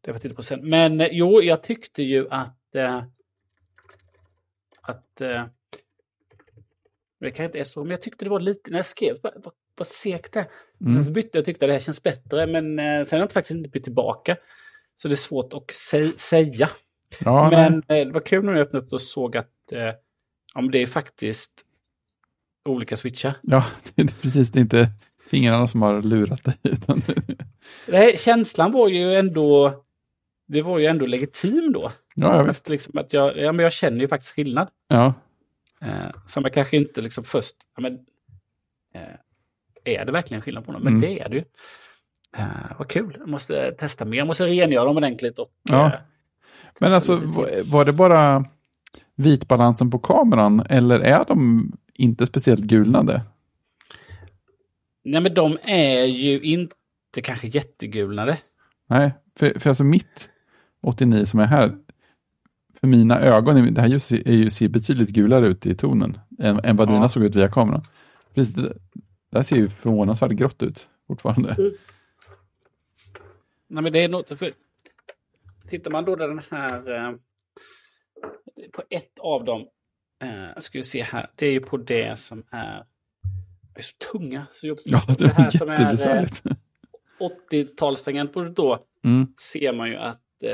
A: det var titta på sen. Men eh, jo, jag tyckte ju att... Eh, att... Eh, det kanske inte är så, men jag tyckte det var lite... När jag skrev, vad, vad, vad segt det är.
B: Mm.
A: Sen så bytte jag och tyckte att det här känns bättre, men eh, sen har jag faktiskt inte bytt tillbaka. Så det är svårt att sä- säga.
B: Ja,
A: men
B: nej.
A: eh, det var kul när jag öppnade upp det och såg att eh, ja, men det är faktiskt olika switchar.
B: ja det, är precis. Det är inte fingrarna som har lurat dig. Utan
A: Det här, känslan var ju ändå... Det var ju ändå legitim då.
B: ja, ja, visst.
A: Att, liksom, att jag, ja, men jag känner ju faktiskt skillnad.
B: Ja.
A: Eh, som jag kanske inte liksom först... Ja, men, eh, är det verkligen skillnad på dem? Men
B: Mm.
A: det är det ju. Eh, vad kul. Jag måste eh, testa mer. Jag måste rengöra dem ordentligt. Och,
B: Ja.
A: eh,
B: Men alltså, va- var det bara vitbalansen på kameran eller är de inte speciellt gulnade?
A: Nej, men de är ju inte kanske jättegulnade.
B: Nej, för, för alltså mitt 89 som är här, för mina ögon, det här ljuset är ju, ser betydligt gulare ut i tonen än, än vad
A: Ja.
B: dina såg ut via kameran. Precis, det, det här ser ju förvånansvärt grått ut fortfarande.
A: Mm. Nej, men det är något... För, tittar man då där den här... Eh, på ett av dem, eh, ska vi se här, det är ju på det som är... Det är så tunga. Så jobbigt.
B: Ja, det
A: det här
B: var
A: som är eh,
B: jättebesvärligt.
A: 80-talstangentbordet då
B: Mm.
A: ser man ju att... Eh,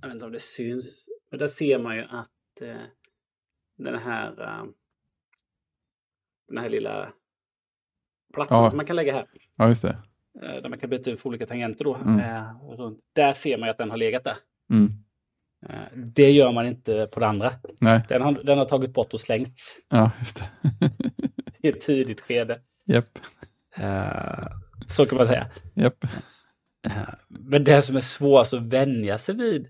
A: jag vet inte om det syns. Men där ser man ju att eh, den här... Eh, den här lilla plattan
B: Ja.
A: som man kan lägga här.
B: Ja, just det.
A: eh, Där man kan byta ut för olika tangenter då.
B: Mm.
A: Eh, runt. Där ser man ju att den har legat där.
B: Mm.
A: Eh, Det gör man inte på det andra.
B: Nej,
A: Den har, den har tagit bort och slängts
B: ja, just det.
A: i ett tidigt skede.
B: Japp,
A: Eh, Så kan man säga.
B: japp.
A: Eh, Men det som är svårast att vänja sig vid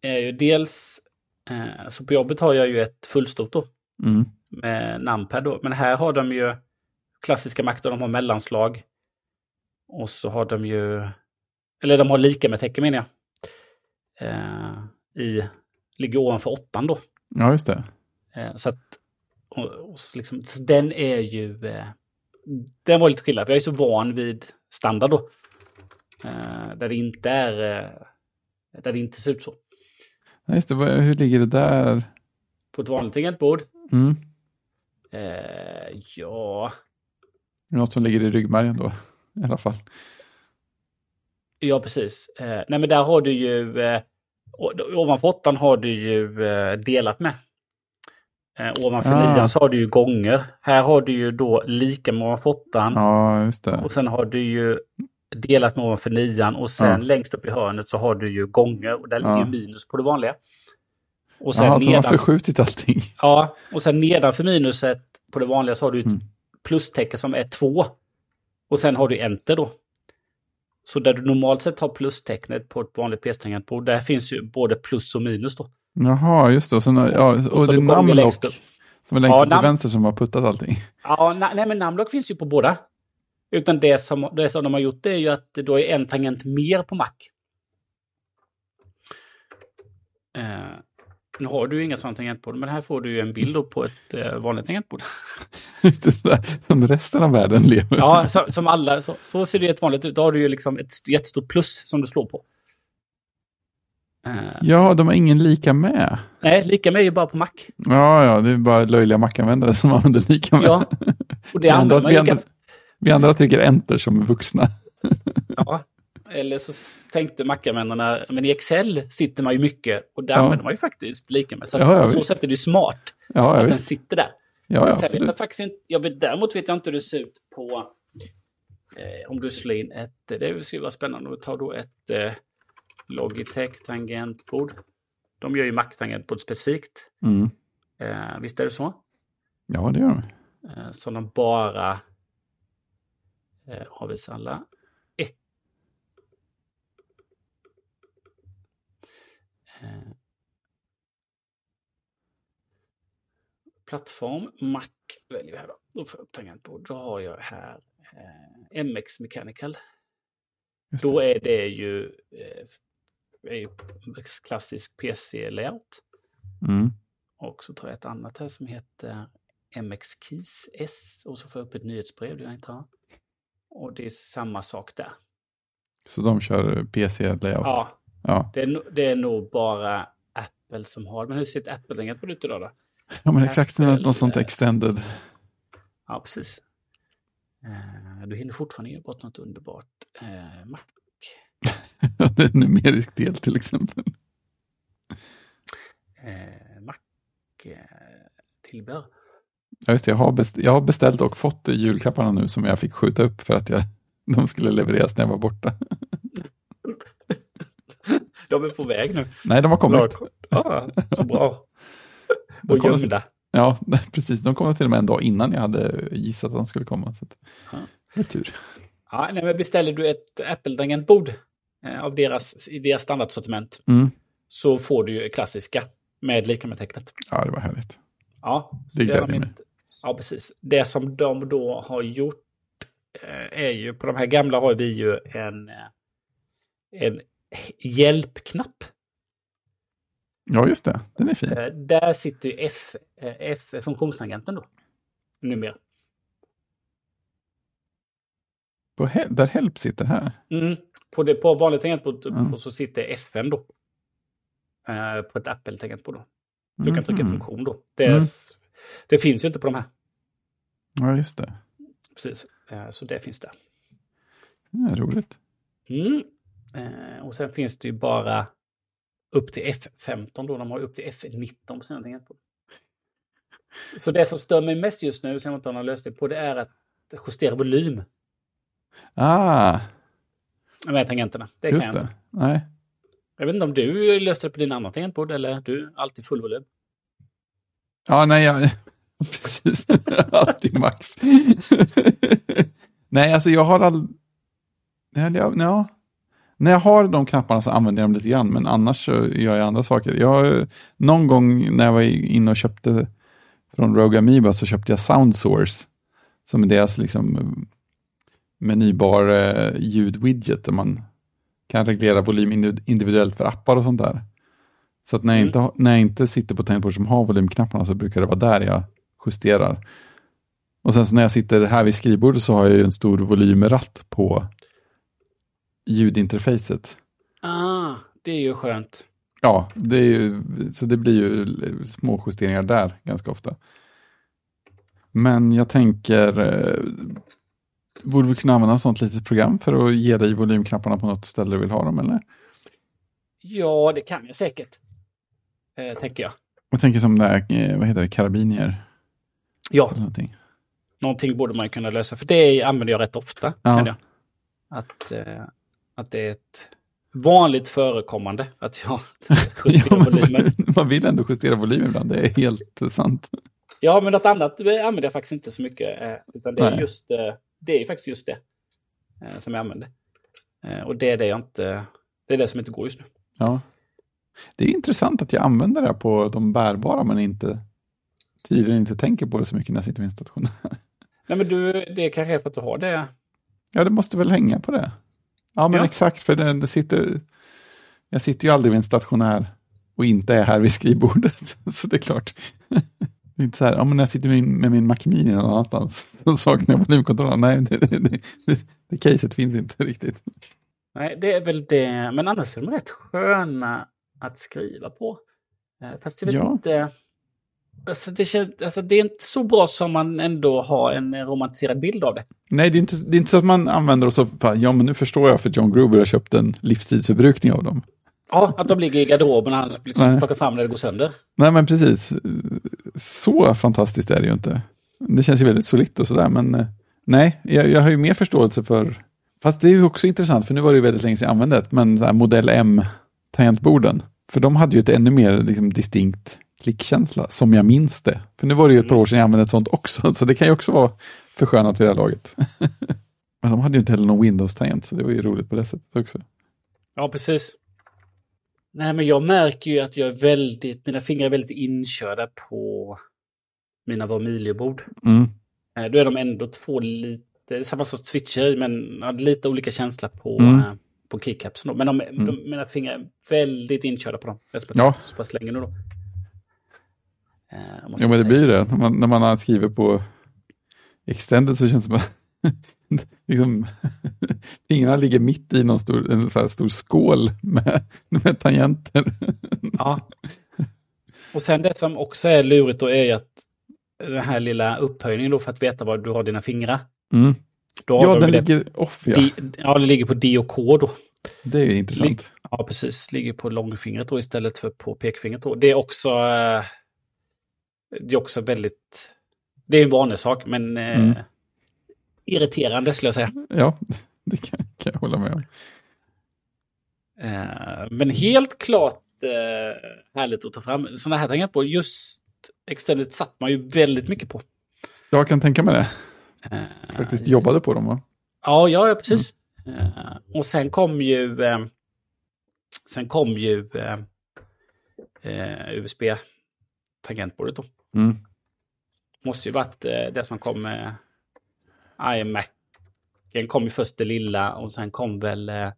A: är ju dels, eh, så på jobbet har jag ju ett fullstort då
B: Mm.
A: med numpad då, men här har de ju klassiska Mac där de har mellanslag och så har de ju, eller de har lika med tecken menar jag, eh, i, ligger ovanför åttan då.
B: Ja, just det.
A: Eh, så att, och, och så liksom, så den är ju, eh, den var lite skillnad, för jag är så van vid standard då. Eh, där det inte är, eh, där det inte ser ut så.
B: Ja, just det. Vad- Hur ligger det där?
A: På ett vanligt tangentbord,
B: Mm.
A: eh, ja,
B: Något som ligger i ryggmärgen då, i alla fall.
A: ja precis. Eh, nej men där har du ju, eh, o- ovanför åttan har du ju eh, delat med. Eh, ovanför
B: Ah.
A: nian så har du ju gånger. Här har du ju då lika med ovanför åttan.
B: Ja, just det.
A: Och sen har du ju delat med ovanför nian och sen
B: Ja.
A: längst upp i hörnet så har du ju gånger och där ligger
B: Ja.
A: ju minus på det vanliga. Och sen,
B: Jaha, så de har
A: nedan,
B: förskjutit allting.
A: ja, och sen nedanför minuset på det vanliga så har du ju ett
B: Mm.
A: plustecken som är två. Och sen har du enter då. Så där du normalt sett har plustecknet på ett vanligt PS-tangentbord, där finns ju både plus och minus då.
B: Jaha, just det. Och, sen, ja, och,
A: så
B: det är
A: då kommer
B: namnlock
A: längst upp.
B: som är längst
A: Ja,
B: upp till
A: namn-
B: vänster som har puttat allting.
A: Ja, na- nej men namnlock finns ju på båda. Utan det som, det som de har gjort det är ju att det då är en tangent mer på Mac. Eh, nu har du ju inga sådana tangentbord, men här får du ju en bild då på ett eh, vanligt tangentbord.
B: Just det, som resten av världen lever.
A: Ja, som, som alla, så, så ser det ju ett vanligt ut. Då har du ju liksom ett st- jättestort plus som du slår på. Eh,
B: ja, de har ingen lika med.
A: nej, lika med är ju bara på Mac.
B: Ja, ja, det är bara löjliga Mac-användare som använder lika med.
A: Ja, och det
B: vi, andra,
A: använder man
B: vi,
A: ju
B: andra,
A: ganska
B: vi andra trycker enter som är vuxna.
A: Ja, eller så s- tänkte mackanvändarna, men i Excel sitter man ju mycket och där
B: Ja.
A: använder man ju faktiskt lika med. Så att
B: Ja, ja,
A: på så
B: visst.
A: sätt är det ju smart
B: Ja, jag
A: att den
B: vet.
A: sitter där.
B: Ja, ja,
A: Sen vet
B: absolut.
A: jag faktiskt inte, jag vet, däremot vet jag inte hur det ser ut på eh, om du slår in ett, det skulle vara spännande att ta då ett eh, Logitech tangentbord. De gör ju Mac-tangentbord specifikt.
B: Mm.
A: Eh, visst är det så?
B: Ja, det gör de.
A: Eh, som de bara eh, avvisar alla. Eh. Eh. Plattform, Mac väljer vi här då. Då får jag upp tangentbord. Då har jag här eh, MX Mechanical.
B: Just
A: Då
B: det.
A: är det ju, eh, är ju klassisk PC-layout.
B: Mm.
A: Och så tar jag ett annat här som heter MX Keys S och så får jag upp ett nyhetsbrev, det jag inte har. Och det är samma sak där.
B: Så de kör PC-layout?
A: Ja,
B: Ja.
A: det är, no- det är nog bara Apple som har Men hur ser ett Apple-tangentbord ut idag då?
B: ja, men exakt.
A: Apple,
B: Något sånt extended.
A: Ja, precis. Eh, Du hinner fortfarande ge bort något underbart. Eh, Mac.
B: det är en numerisk del till exempel.
A: Eh, Mac eh, tillbehör.
B: Ja, just det. Jag har, best- jag har beställt och fått julklapparna nu som jag fick skjuta upp för att jag, de skulle levereras när jag var borta.
A: De är på väg nu.
B: Nej, de har kommit.
A: Ja, så bra.
B: De
A: Och
B: kommer till-
A: gömda.
B: Ja, precis. De kom till och med en dag innan jag hade gissat att de skulle komma. Så att,
A: Ja.
B: det är tur.
A: Ja, nej, men beställer du ett Apple-tangentbord eh, av deras, i deras standardsortiment
B: Mm.
A: så får du ju klassiska med lika med tecknet.
B: Ja, det var härligt.
A: Ja, så
B: Det gläder
A: har de
B: mig.
A: inte- Ja, precis. Det som de då har gjort eh, är ju, på de här gamla har vi ju en, eh, en hjälpknapp.
B: Ja, just det. Den är fin.
A: Eh, Där sitter ju F, eh, F, funktionstangenten då, numera.
B: På hel- där Help sitter här.
A: Mm. På, det, på vanligt tangentbord
B: Mm.
A: och så sitter FN då. Eh, på ett Apple-tangentbord då. Du kan trycka
B: Mhm.
A: funktion då. Det,
B: Mm.
A: det finns ju inte på de här.
B: Ja, just det.
A: Precis. Eh, Så det finns där.
B: Ja, roligt.
A: Mm. Eh, Och sen finns det ju bara upp till F15 då. De har ju upp till F19 på sina tangentbord. Så- Så det som stör mig mest just nu, som jag inte har någon lösning på, det är att justera volym
B: Ah,
A: med tangenterna. Det kan
B: just
A: jag. inte.
B: det. Nej.
A: jag vet inte om du löste det på din andra tangentbord eller du alltid full volym.
B: Ja, nej, jag... precis. Alltid max. nej, alltså jag har all... Nej, jag... Ja. När jag har de knapparna så använder jag dem lite grann, men annars så gör jag andra saker. Jag, eh, någon gång när jag var inne och köpte från Rogue Amoeba så köpte jag Soundsource, som är deras liksom menybar eh, ljudwidget där man kan reglera volym individ- individuellt för appar och sånt där. Så att när jag,
A: Mm.
B: inte, har- när jag inte sitter på tangentbordet som har volymknapparna så brukar det vara där jag justerar. Och sen så när jag sitter här vid skrivbordet så har jag ju en stor volymratt på ljudinterfacet.
A: Ah, det är ju skönt.
B: Ja, det är ju, så det blir ju små justeringar där ganska ofta. Men jag tänker, eh, borde vi kunna använda ett sånt litet program för att ge dig volymknapparna på något ställe du vill ha dem eller?
A: Ja, det kan jag säkert. Eh, tänker jag.
B: Jag tänker som det här, eh, vad heter det, karabiner eller
A: Ja,
B: någonting.
A: någonting borde man kunna lösa. För det använder jag rätt ofta,
B: Ja.
A: känner jag. Att, eh, att det är ett vanligt förekommande att jag justerar
B: Ja, men-
A: volymen.
B: Man vill ändå justera volymen ibland, det är helt sant.
A: Ja, men något annat eh, använder jag faktiskt inte så mycket. Eh, utan det är,
B: Nej.
A: just, eh, det är ju faktiskt just det. eh, som jag använder. Eh, och det är det jag inte, det är det som inte går just nu.
B: Ja. Det är intressant att jag använder det här på de bärbara men inte tydligen inte tänker på det så mycket när jag sitter vid stationen.
A: Nej men du, det kanske är för att du har det.
B: Ja, det måste väl hänga på det. Ja, men
A: Ja.
B: exakt, för det, det sitter, jag sitter ju aldrig vid en stationär och inte är här vid skrivbordet. Så det är klart. Det är inte så här, ja, men när jag sitter med, min- med min Mac Mini någon annanstans, då saknar jag volymkontrollen. Nej, det, det, det, det, det caset finns inte riktigt.
A: Nej, det är väl det. Men annars är de rätt sköna att skriva på. Eh, Fast jag vet
B: Ja.
A: inte. Alltså det, känns, alltså det är inte så bra som man ändå har en eh, romantiserad bild av det.
B: Nej, det är inte, det är inte så att man använder och så, bara, ja, men nu förstår jag för John Gruber har köpt en livstidsförbrukning av dem.
A: Ja, att de ligger i garderoben och han liksom
B: Nej.
A: plockar fram när det går sönder.
B: Nej, men precis. Så fantastiskt är det ju inte. Det känns ju väldigt solitt och sådär, men eh, nej, jag, jag har ju mer förståelse för... Fast det är ju också intressant, för nu var det ju väldigt länge sedan jag använde det, men så här modell M-tangentborden. För de hade ju ett ännu mer liksom, distinkt klickkänsla, som jag minns det. För nu var det ju ett par år sedan jag använde ett sånt också, så det kan ju också vara förskönat vid det här laget. men de hade ju inte heller någon Windows-tangent, så det var ju roligt på det sättet också.
A: Ja, precis. Nej, men jag märker ju att jag är väldigt, mina fingrar är väldigt inkörda på mina Vermilio-bord.
B: Mm.
A: Eh, Då är de ändå två lite, det är samma sorts switcher i, men ja, lite olika känsla på,
B: Mm.
A: eh, på kickapsen. då. Men de, de, mina fingrar är väldigt inkörda på dem. Jag har spelat
B: Ja.
A: så pass länge nu då. Eh, jag måste
B: Ja, men det
A: säga.
B: blir ju det. När man, när man skriver på extended så känns det som att liksom, fingrarna ligger mitt i någon stor, en så här stor skål med, med tangenter.
A: Ja. Och sen det som också är lurigt då är ju att den här lilla upphöjningen då för att veta var du har dina fingrar.
B: Mm.
A: Då har
B: Ja,
A: du
B: den
A: det
B: ligger off, ja.
A: Di, ja, det ligger på D och K då.
B: Det är ju intressant.
A: Ja, precis. Ligger på långfingret då istället för på pekfingret då. Det är också... eh, Det är också väldigt... Det är en vanlig sak, men eh,
B: Mm.
A: irriterande skulle jag säga.
B: Ja, det kan, kan jag hålla med om.
A: Eh, men helt klart eh, härligt att ta fram sådana här tangenter på. Just extended satt man ju väldigt mycket på.
B: Jag kan tänka mig det.
A: Eh,
B: Faktiskt jobbade på dem, va?
A: Ja, ja, ja precis. Eh, och sen kom ju... Eh, sen kom ju eh, eh, USB-tangentbordet då.
B: Mm.
A: Måste ju varit eh, det som kom med iMac. Den kom ju först det lilla och sen kom väl... Eh,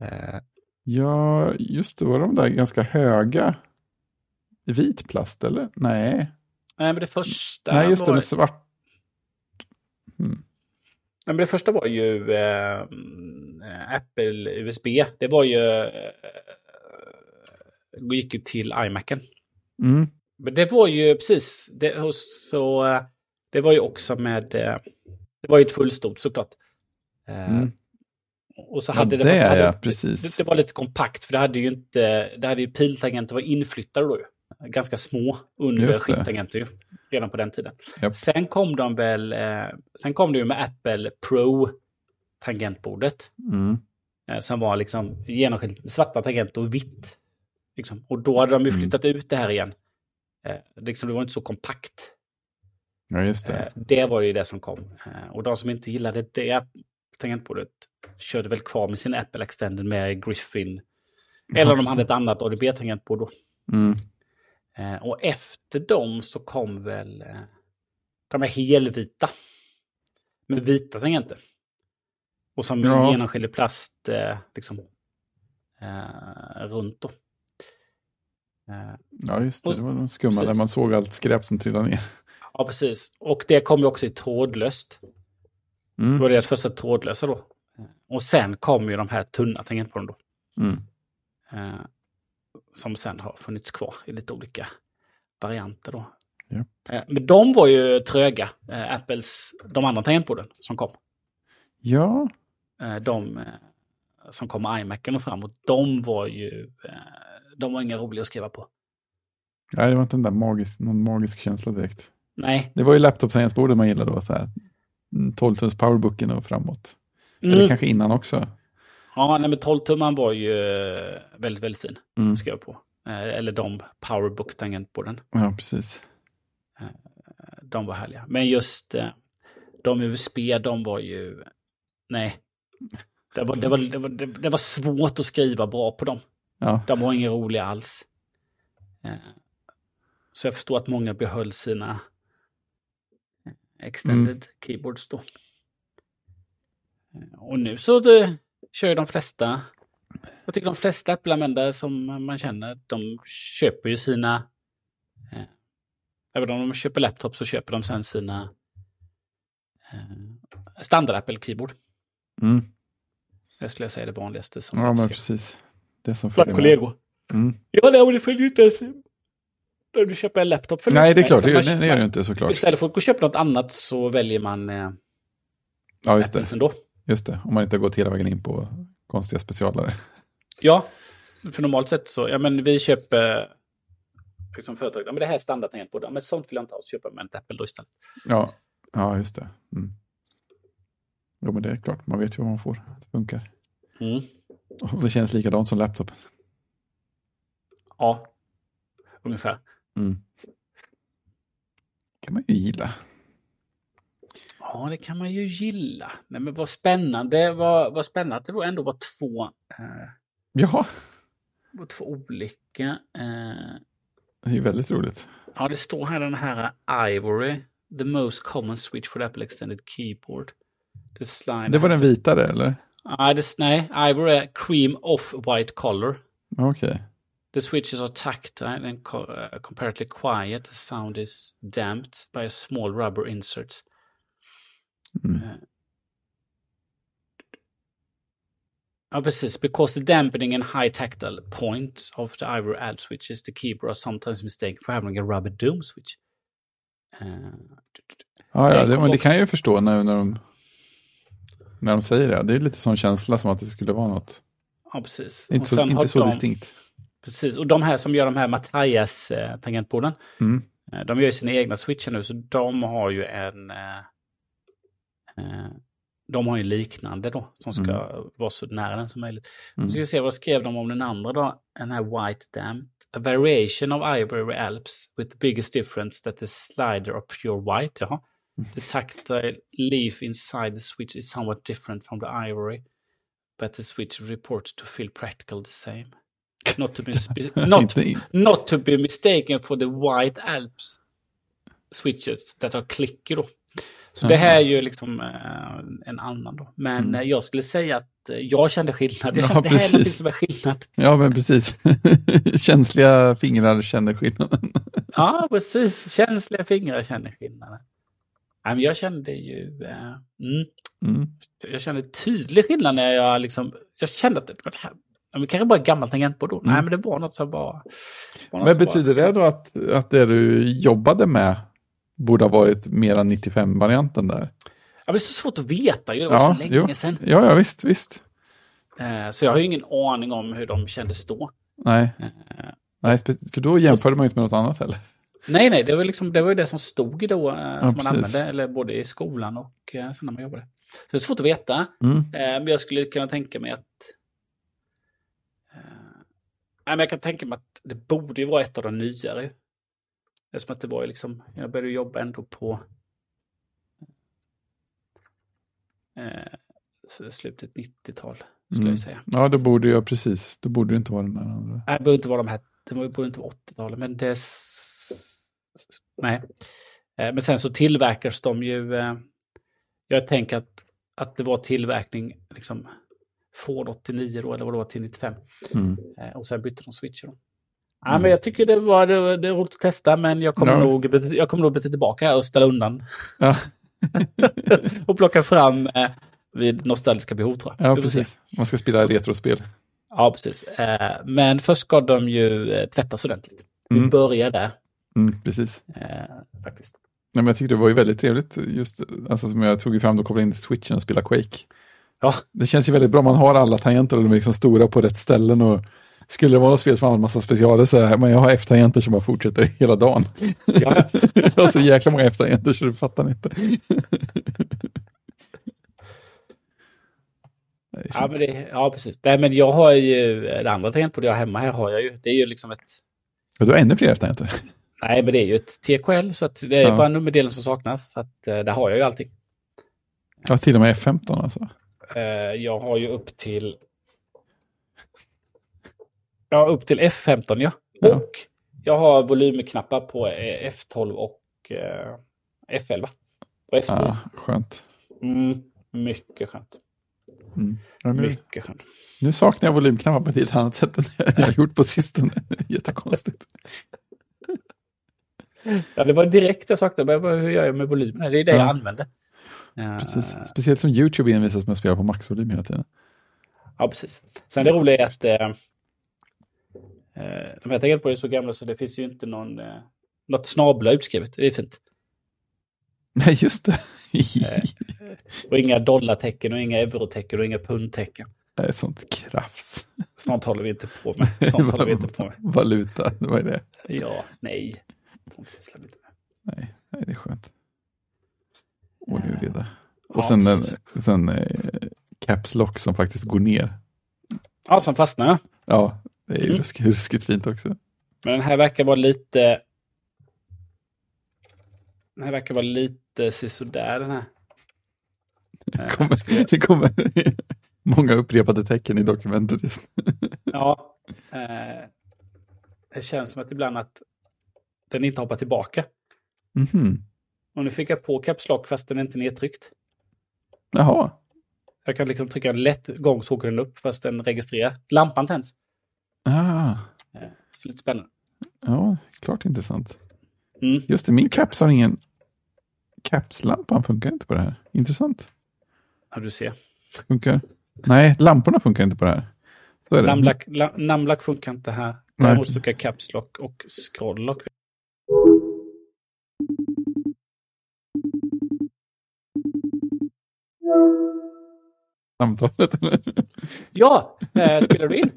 A: eh,
B: Ja, just det. Var de där ganska höga? i Vit plast, eller? Nej,
A: nej, men det första...
B: Nej just det,
A: var,
B: med svart.
A: nej, men det första var ju eh, eh, Apple USB. Det var ju... Eh, gick ju till iMacen.
B: Mm.
A: Men det var ju precis, det, och så, eh, det var ju också med, eh, det var ju ett fullstort såklart. Eh,
B: Mm.
A: Och så
B: Ja,
A: hade
B: det
A: det, fast
B: är
A: hade,
B: jag, precis.
A: det, det var lite kompakt för det hade ju inte, det hade ju piltangenter var inflyttade då ju. Ganska små under
B: Just det.
A: skifttangenter ju, redan på den tiden.
B: Japp.
A: Sen kom de väl, eh, sen kom det ju med Apple Pro tangentbordet.
B: Mm.
A: Eh, som var liksom genomskinligt med svarta tangenter och vitt. Liksom. Och då hade de ju
B: Mm.
A: flyttat ut det här igen. Eh, liksom, det var inte så kompakt.
B: Ja, just det.
A: Eh, det var ju det som kom. Eh, och de som inte gillade det tangentbordet körde väl kvar med sin Apple Extended med Griffin. Eller om de hade ett annat ADB-tangentbord då.
B: Mm.
A: Eh, och efter dem så kom väl eh, de här helvita. Med vita tangenter. Och som
B: Ja.
A: genomskinlig plast eh, liksom, eh, runt då. Eh,
B: Ja, just det.
A: Och-
B: Det var de skumma
A: precis.
B: där man såg allt skräp som trillade ner.
A: ja, precis. Och det kom ju också i trådlöst. Det
B: Mm.
A: var deras första trådlösa då. Och sen kom ju de här tunna tangentborden då.
B: Mm.
A: Eh, som sen har funnits kvar i lite olika varianter. Då.
B: Ja.
A: Eh, men de var ju tröga, eh, Apples, de andra tangentborden som kom.
B: Ja,
A: Eh, de eh, som kom med iMacen och framåt, de var ju eh, de var inga roliga att skriva på.
B: Nej, det var inte den där magisk, någon magisk känsla direkt.
A: Nej.
B: Det var ju laptop-tangentbordet man gillade då, så här. Mm, 12 tums powerbooken och framåt. Eller
A: Mm.
B: kanske innan också.
A: Ja, nej, men 12-tumman var ju eh, väldigt, väldigt fin
B: Mm.
A: att skriva på. Eh, eller de Powerbook-tangentborden.
B: Ja, precis.
A: De var härliga. Men just eh, de USB, de var ju... Nej, Det var, det, var, det, var, det, det var svårt att skriva bra på dem.
B: Ja.
A: De var inga roliga alls. Eh, Så jag förstår att många behöll sina extended
B: Mm.
A: keyboards då. Eh, Och nu så det, kör ju de flesta, jag tycker de flesta Apple-användare som man känner, de köper ju sina, eh, även om de köper laptop så köper de sen sina eh, standard Apple-keyboard.
B: Mm.
A: Det skulle jag säga är det vanligaste som
B: ja,
A: de
B: men
A: ser.
B: precis. Det som
A: Bland
B: följer med.
A: kollegor.
B: Mm.
A: Ja, nej, men det följer ju inte ens... När du köper en laptop följer
B: Nej,
A: inte
B: det är
A: med,
B: klart. Det,
A: utan
B: gör-
A: man-
B: det gör det ju inte såklart.
A: Istället för att gå och köpa något annat så väljer man eh,
B: Ja, just det.
A: Apples ändå.
B: Just det. Om man inte har gått hela vägen in på konstiga specialare.
A: Ja, för normalt sett så, ja men vi köper... Liksom företag, ja men det här är standardtangentbordet, ja, men sånt vill jag inte ha, så köper man ett Apple då istället.
B: Ja, ja just det. Mm. Jo, men det är klart. Man vet ju vad man får. Det funkar.
A: Mm.
B: Och det känns likadant som laptopen.
A: Ja, ungefär.
B: Mm. kan man ju gilla.
A: Ja, det kan man ju gilla. Nej men vad spännande, vad, vad spännande att det var ändå var två, eh,
B: Ja,
A: var två olika eh,
B: det är ju väldigt roligt.
A: Ja, det står här den här Ivory, the most common switch for the Apple extended keyboard. The slime
B: Det var den
A: has-
B: vitare, eller?
A: Nej, Ah, det, nej, Ivory är cream off white color.
B: Ja, Okej.
A: The switches are tactile and co uh, comparatively quiet. The sound is damped by a small rubber inserts.
B: Mm.
A: Eh. Ja, precis. Because the dampening and high tactile point of the Ivory Alp switches, the keyboard are sometimes mistaken for having a rubber dome switch. Eh,
B: Ja, ja
A: Jag
B: det,
A: kom
B: men det
A: på-
B: kan jag ju förstå när, när, de, när de säger det. Det är lite sån känsla som att det skulle vara något.
A: Ja, precis.
B: Inte
A: Och
B: så,
A: sen har
B: inte så
A: de,
B: distinkt.
A: Precis, och de här som gör de här eh, Mattias-tangentborden,
B: Mm.
A: Eh, de gör ju sina egna switchar nu, så de har ju en... eh, eh, De har ju liknande då, som ska vara så nära den som möjligt. Nu ska vi se, vad skrev de om den andra då? Den här White Damped. A variation of Ivory Alps with the biggest difference that the slider of pure white. Jaha. The tactile leaf inside the switch is somewhat different from the ivory, but the switch is reported to feel practical the same. Not to be, spe- not,
B: Inte in-
A: not to be mistaken for the white Alps switches that are clicker då. Så det här är ju liksom eh, en annan då. Men eh, jag skulle säga att eh, jag kände skillnad. Jag
B: Mm.
A: kände
B: Ja,
A: det här är någonting
B: precis.
A: som är skillnad.
B: Ja, men precis. Känsliga fingrar känner skillnaden.
A: Ja, precis. Känsliga fingrar känner skillnaden. Nej, men jag kände ju... Eh, mm,
B: Mm.
A: jag kände tydlig skillnad när jag liksom... Jag kände att det, det här... ja, men kanske bara ett gammalt tangentbord då.
B: Mm.
A: Nej, men det var något som var... var något
B: Men
A: som
B: betyder det då att, att det du jobbade med borde ha varit mera 95-varianten där?
A: Ja, men det är så svårt att veta ju. Det var så länge
B: jo.
A: sedan.
B: Ja, ja, visst, visst.
A: Eh, så jag har ju ingen aning om hur de kändes då.
B: Nej,
A: Eh,
B: nej spe- för då jämförde man ju inte med något annat heller.
A: Nej, nej, det var, liksom, det var ju det som stod då, eh, som man
B: precis.
A: använde, eller både i skolan och eh, sen när man jobbade. Så det är svårt att veta, eh,
B: Mm.
A: men jag skulle kunna tänka mig att... Eh, nej, men jag kan tänka mig att det borde ju vara ett av de nyare. Eftersom att det var ju liksom, jag började ju jobba ändå på eh, s- slutet 90-tal, skulle
B: Mm.
A: jag säga.
B: Ja, då borde jag precis. Då borde det inte vara den där andra.
A: Nej, det behöver inte vara de här. Det borde inte vara 80-talet, men det... s- Nej. Eh, Men sen så tillverkas de ju... eh, Jag tänker att, att det var tillverkning liksom från 89 då, eller vad det var, till 95.
B: Mm.
A: Eh, Och sen bytte de switcher. Då. Ja, men jag tycker det var, det var, det var roligt att testa, men jag kommer,
B: Ja,
A: nog, jag kommer nog bli tillbaka här och ställa undan
B: Ja,
A: och plocka fram eh, vid nostalgiska behov, tror jag.
B: ja,
A: Vi får se.
B: precis. Man ska spela retrospel.
A: Ja, precis. Eh, Men först ska de ju eh, tvättas ordentligt. Vi
B: Mm.
A: börjar där.
B: Mm, precis.
A: Eh, faktiskt.
B: Nej, men jag tyckte det var ju väldigt trevligt, just alltså, som jag tog ju fram och kopplade in till switchen och spelade Quake.
A: Ja.
B: Det känns ju väldigt bra, man har alla tangenter och de är liksom stora på rätt ställen och skulle det vara något spel som har en massa specialer så här, men jag har F-tangenter som bara fortsätter hela dagen.
A: Ja,
B: jag har så jäkla många F-tangenter så du fattar inte. Nej,
A: ja, men det, ja precis. Nej, men jag har ju eh, det andra tangentbordet jag har hemma här har jag ju. Det är ju liksom ett...
B: Ja, Du har ännu fler F-tangenter.
A: Nej, men det är ju ett TKL så att det är
B: Ja.
A: bara nummerdelen som saknas. Så att eh, där har jag ju allting.
B: Ja, till och med F15 alltså.
A: Eh, jag har ju upp till... Ja, upp till F15 ja.
B: Ja.
A: Och jag har volymknappar på eh, F12 och eh, F11. Och F10.
B: Ja, skönt.
A: Mm, mycket skönt.
B: Mm. Ja, nu,
A: Mycket skönt.
B: nu saknar jag volymknappar på ett helt annat sätt än jag har gjort på sistone. Det är Jättekonstigt.
A: Ja, det var direkt jag saknade. Men jag bara, Hur gör jag med volymen? Det är det
B: Ja.
A: jag använder. Eh,
B: Precis. Speciellt som YouTube envisas med att spela på maxvolym hela tiden.
A: Ja, precis. Sen det roliga är att eh, eh, de här tangentbordarna är så gamla så det finns ju inte någon, eh, något snabla utskrivet. Det är fint.
B: Nej, just det.
A: Eh. Och inga dollartecken och inga eurotecken och inga pundtecken.
B: Nej, sånt krafs.
A: Sånt håller vi inte på med. Sånt håller vi inte på med.
B: Valuta, vad är det?
A: Ja, nej. Sånt sysslar vi inte med.
B: Nej, nej det är skönt. Ordning och reda.
A: Eh. Ja,
B: Och sen, den,
A: precis.
B: sen eh, Caps Lock som faktiskt går ner.
A: Ja, som fastnar jag.
B: Ja, det är ju
A: Mm.
B: ruskigt, ruskigt fint också.
A: Men den här verkar vara lite... Den här verkar vara lite sisådär den här. Eh, skulle jag-
B: Kommer, det kommer många upprepade tecken i dokumentet just nu.
A: Ja. Eh, det känns som att ibland att den inte hoppar tillbaka.
B: Mhm.
A: Och nu fick jag på Caps Lock fast den är inte nedtryckt.
B: Jaha,
A: Jag kan liksom trycka en lätt gång så åker den upp fast den registrerar. Lampan tänds.
B: ah,
A: Eh, så lite spännande.
B: ja, klart intressant.
A: Mm.
B: Just det, min caps har ingen... Capslampan funkar inte på det här. Intressant.
A: Ja, du ser.
B: Funkar? Nej, lamporna funkar inte på det här. Så är det.
A: Namlack, la, namlack funkar inte här.
B: Nej.
A: Däremot funkar Caps Lock och Scroll Lock.
B: Samtalet.
A: Ja, eh, spelar du in?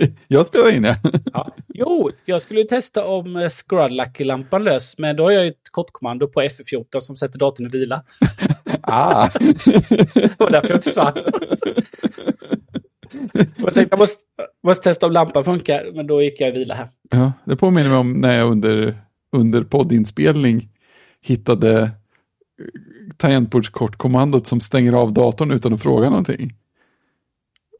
B: Jag spelar in, ja.
A: Ja. Jo, jag skulle ju testa om eh, Scrollack-lampan lös, men då har jag ju ett kortkommando på F14 som sätter datorn i vila.
B: Ah.
A: Det var därför jag försvann. Jag tänkte jag måste, måste testa om lampan funkar, men då gick jag i vila här.
B: Ja, det påminner mig om när jag under, under poddinspelning hittade eh, tangentbordskortkommandot som stänger av datorn utan att fråga någonting.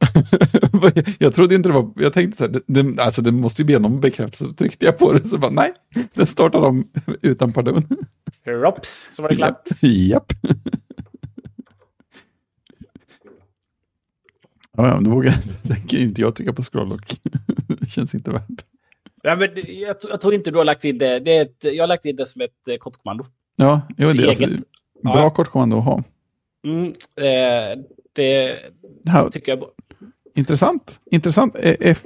B: jag trodde inte det var, jag tänkte så här, det, det, alltså det måste ju be någon bekräftelse, så tryckte jag på det så bara nej, den startar om utan pardon.
A: Rops, så var det klart.
B: Japp. Ja, ja, men då vågar tänker inte jag trycka på scrolllock. Det känns inte värt.
A: Nej, men det- jag, tr- jag tror inte du har lagt in det. det är ett, jag har lagt in det som ett eh, kortkommando.
B: Ja, jo, det är alltså,
A: Eget.
B: bra
A: Ja.
B: kortkommando att ha.
A: Mm, eh, det
B: Det här,
A: tycker jag är bra.
B: intressant. Intressant. Eh, F,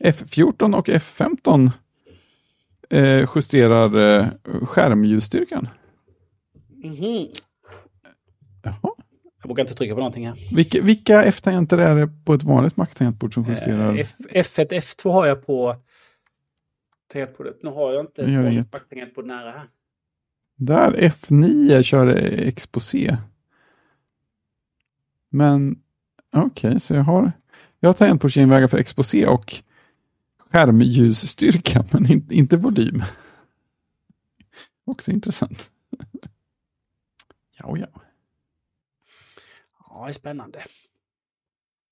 B: F14 och F15 eh, justerar eh, skärmljusstyrkan.
A: Mhm.
B: Jaha.
A: Jag vågar inte trycka på någonting här.
B: Vilka, vilka F-tangenter är det på ett vanligt Mac-tangentbord som justerar?
A: Eh, F, F1, F2 har jag på tangentbordet. Nu har jag inte
B: Det gör
A: på-
B: inget.
A: på tangentbord nära här.
B: Där F9 kör eh, exposé. Men okej, så jag har, jag har tangentbordsgenvägar för exposé och skärmljusstyrka, men in, inte volym. Också intressant. Ja, ja.
A: Ja, det är spännande.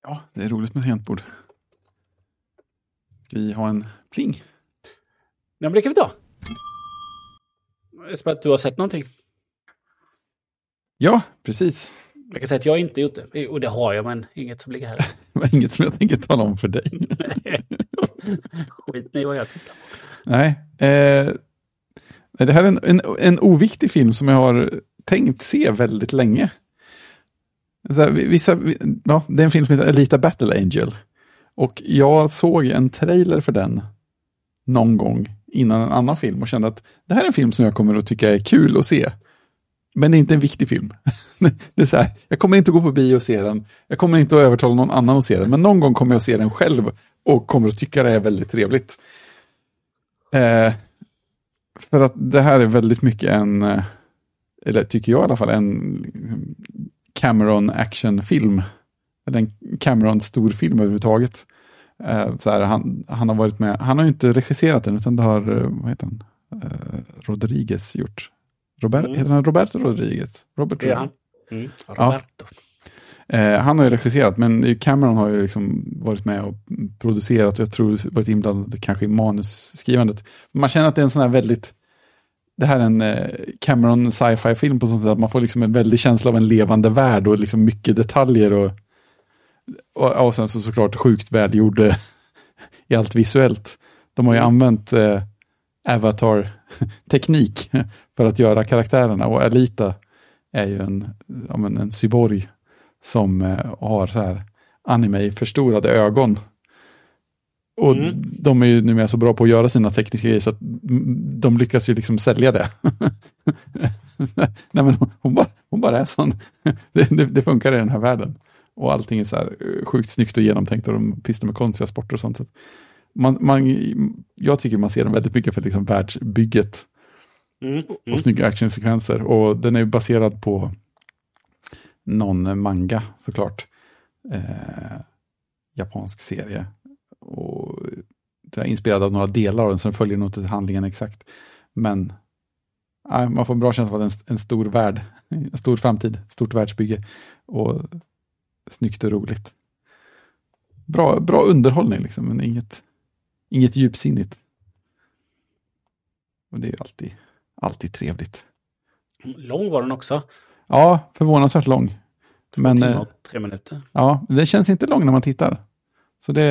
B: ja, det är roligt med tangentbord. Ska vi ha en pling?
A: Ja, men det kan vi ta. Det är som att du har sett någonting.
B: Ja, precis.
A: Jag kan säga att jag inte gjort det. Och det har jag, men inget som ligger här.
B: Det var inget som jag tänker tala om för dig.
A: Skit i vad jag tittar på.
B: Nej. Eh, det här är en, en, en oviktig film som jag har tänkt se väldigt länge. Så här, vi- vissa, vi- ja, det är en film som heter Elita Battle Angel. Och jag såg en trailer för den någon gång innan en annan film och kände att det här är en film som jag kommer att tycka är kul att se. Men det är inte en viktig film. Det är så här, jag kommer inte gå på bio och se den. Jag kommer inte att övertala någon annan att se den. Men någon gång kommer jag att se den själv och kommer att tycka det är väldigt trevligt. Eh, för att det här är väldigt mycket en, eh, eller tycker jag i alla fall, en liksom, Cameron actionfilm. Eller en Cameron storfilm överhuvudtaget. Eh, så här, han, han har varit med, han har ju inte regisserat den utan det har, eh, vad heter han, eh, Rodriguez gjort. Robert,
A: Mm.
B: Heter han Roberto Rodriguez? Robert
A: Det gör
B: Rodriguez?
A: han. Mm.
B: Ja.
A: Roberto.
B: Eh, han har ju regisserat, men Cameron har ju liksom varit med och producerat och jag tror varit inblandad kanske i manusskrivandet. Man känner att det är en sån här väldigt, det här är en eh, Cameron sci-fi film på sånt sätt att man får liksom en väldig känsla av en levande värld och liksom mycket detaljer och, och, och sen så såklart sjukt välgjord eh, i allt visuellt. De har ju använt eh, avatar-teknik för att göra karaktärerna och Alita är ju en, ja, men en cyborg som eh, har så här anime-förstorade ögon. Och
A: Mm.
B: de är ju numera så bra på att göra sina tekniska grejer så att mm, de lyckas ju liksom sälja det. Nej men hon- hon bara, hon bara är sån. det, det, det funkar i den här världen. Och allting är så här eh, sjukt snyggt och genomtänkt och de pysslar med konstiga sporter och sånt. Så att man, man, jag tycker man ser den väldigt mycket för liksom världsbygget
A: Mm.
B: och snygga actionsekvenser. Och den är ju baserad på någon manga såklart. Eh, japansk serie. Och det är inspirerad av några delar av den, så den följer nog inte handlingen exakt. Men ja, man får en bra känsla av att det är en, en stor värld, en stor framtid, ett stort världsbygge. Och snyggt och roligt. Bra, bra underhållning liksom, men inget, inget djupsinnigt. Och det är ju alltid alltid trevligt.
A: Lång var den också.
B: Ja, förvånansvärt lång. Men
A: Men,
B: eh,
A: tre minuter.
B: ja, det känns inte lång när man tittar. Så det,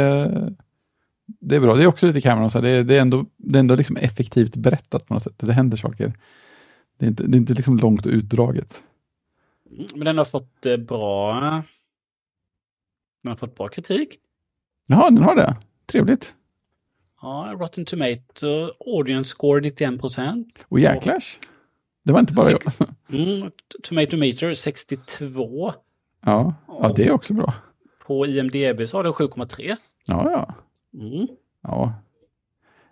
B: det är bra. Det är också lite Cameron, så här, det, det är ändå, det är ändå liksom effektivt berättat på något sätt. Det händer saker. Det är inte, det är inte liksom långt och utdraget.
A: Mm, Men den har fått eh, bra... Den har fått bra kritik.
B: Jaha, den har det. Trevligt.
A: Ja, Rotten Tomato, audience score 91 procent.
B: Och jäklars. Det var inte bara jag.
A: Mm, t- tomato meter 62.
B: Ja, ja, det är också bra.
A: På IMDB så har den 7,3.
B: Ja, ja.
A: Mm.
B: Ja.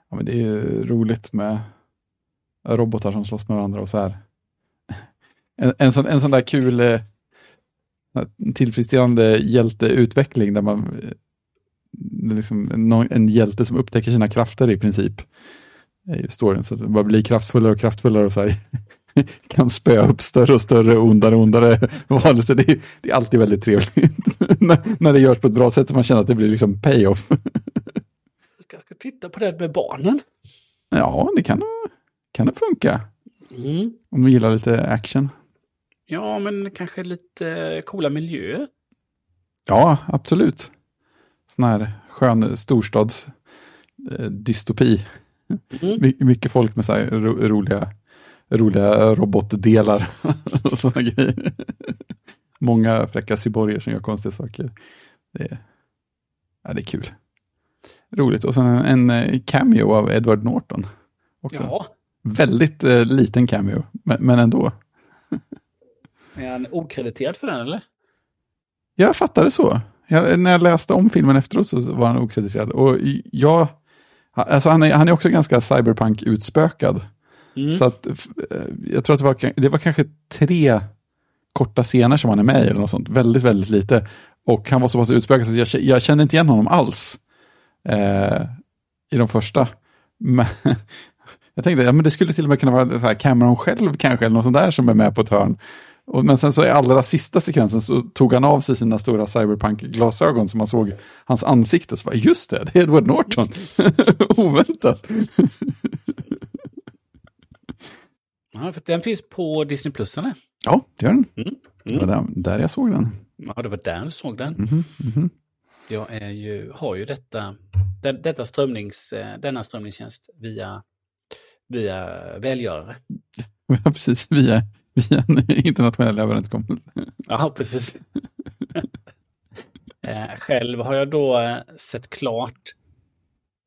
B: ja, men det är ju roligt med robotar som slåss med varandra och så här. En, en, sån, en sån där kul eh, tillfredsställande hjälteutveckling där man eh, det är liksom en, någon- en hjälte som upptäcker sina krafter i princip. är ju storyn, så att det bara blir kraftfullare och kraftfullare och så här kan spöa upp större och större och ondare och ondare varelser. Det, är- det är alltid väldigt trevligt när, när det görs på ett bra sätt så man känner att det blir liksom payoff.
A: Jag kanske titta på det med barnen.
B: Ja, det kan, kan det funka.
A: Mm.
B: Om du gillar lite action.
A: Ja, men kanske lite coola miljöer.
B: Ja, absolut. Sån här skön storstads eh, dystopi.
A: Mm.
B: My, mycket folk med så här ro, roliga, roliga robotdelar och såna grejer. Många fräcka cyborger som gör konstiga saker. Det är, ja, det är kul. Roligt. Och sen en, en eh, cameo av Edward Norton. Också.
A: Ja,
B: Väldigt eh, liten cameo, men, men ändå.
A: är han okrediterad för den eller?
B: Jag fattade så. Jag, när jag läste om filmen efteråt så var han okrediterad. Och jag, alltså han, är, han är också ganska cyberpunk-utspökad.
A: Mm.
B: Så att, f- eh, jag tror att det var, det var kanske tre korta scener som han är med i eller något sånt. Väldigt, väldigt lite. Och han var så pass utspökad så jag, k- jag kände inte igen honom alls. Eh, I de första. Men jag tänkte, ja men det skulle till och med kunna vara så här Cameron själv kanske, eller något sånt där som är med på ett hörn. Och, men sen så i allra sista sekvensen så tog han av sig sina stora cyberpunk-glasögon så man såg hans ansikte. Så bara, just det, det är Edward Norton. Oväntat.
A: Ja, för den finns på Disney Plus eller?
B: Ja, det gör den.
A: Mm.
B: Det var
A: Mm.
B: där, där jag såg den.
A: Ja, det var där du såg den.
B: Mhm, mhm.
A: Jag är ju, har ju detta, den, detta strömnings, eh, denna strömningstjänst via, via välgörare.
B: Ja, Precis, via, via en internationell överenskommelse.
A: Ja, precis. eh, själv har jag då eh, sett klart,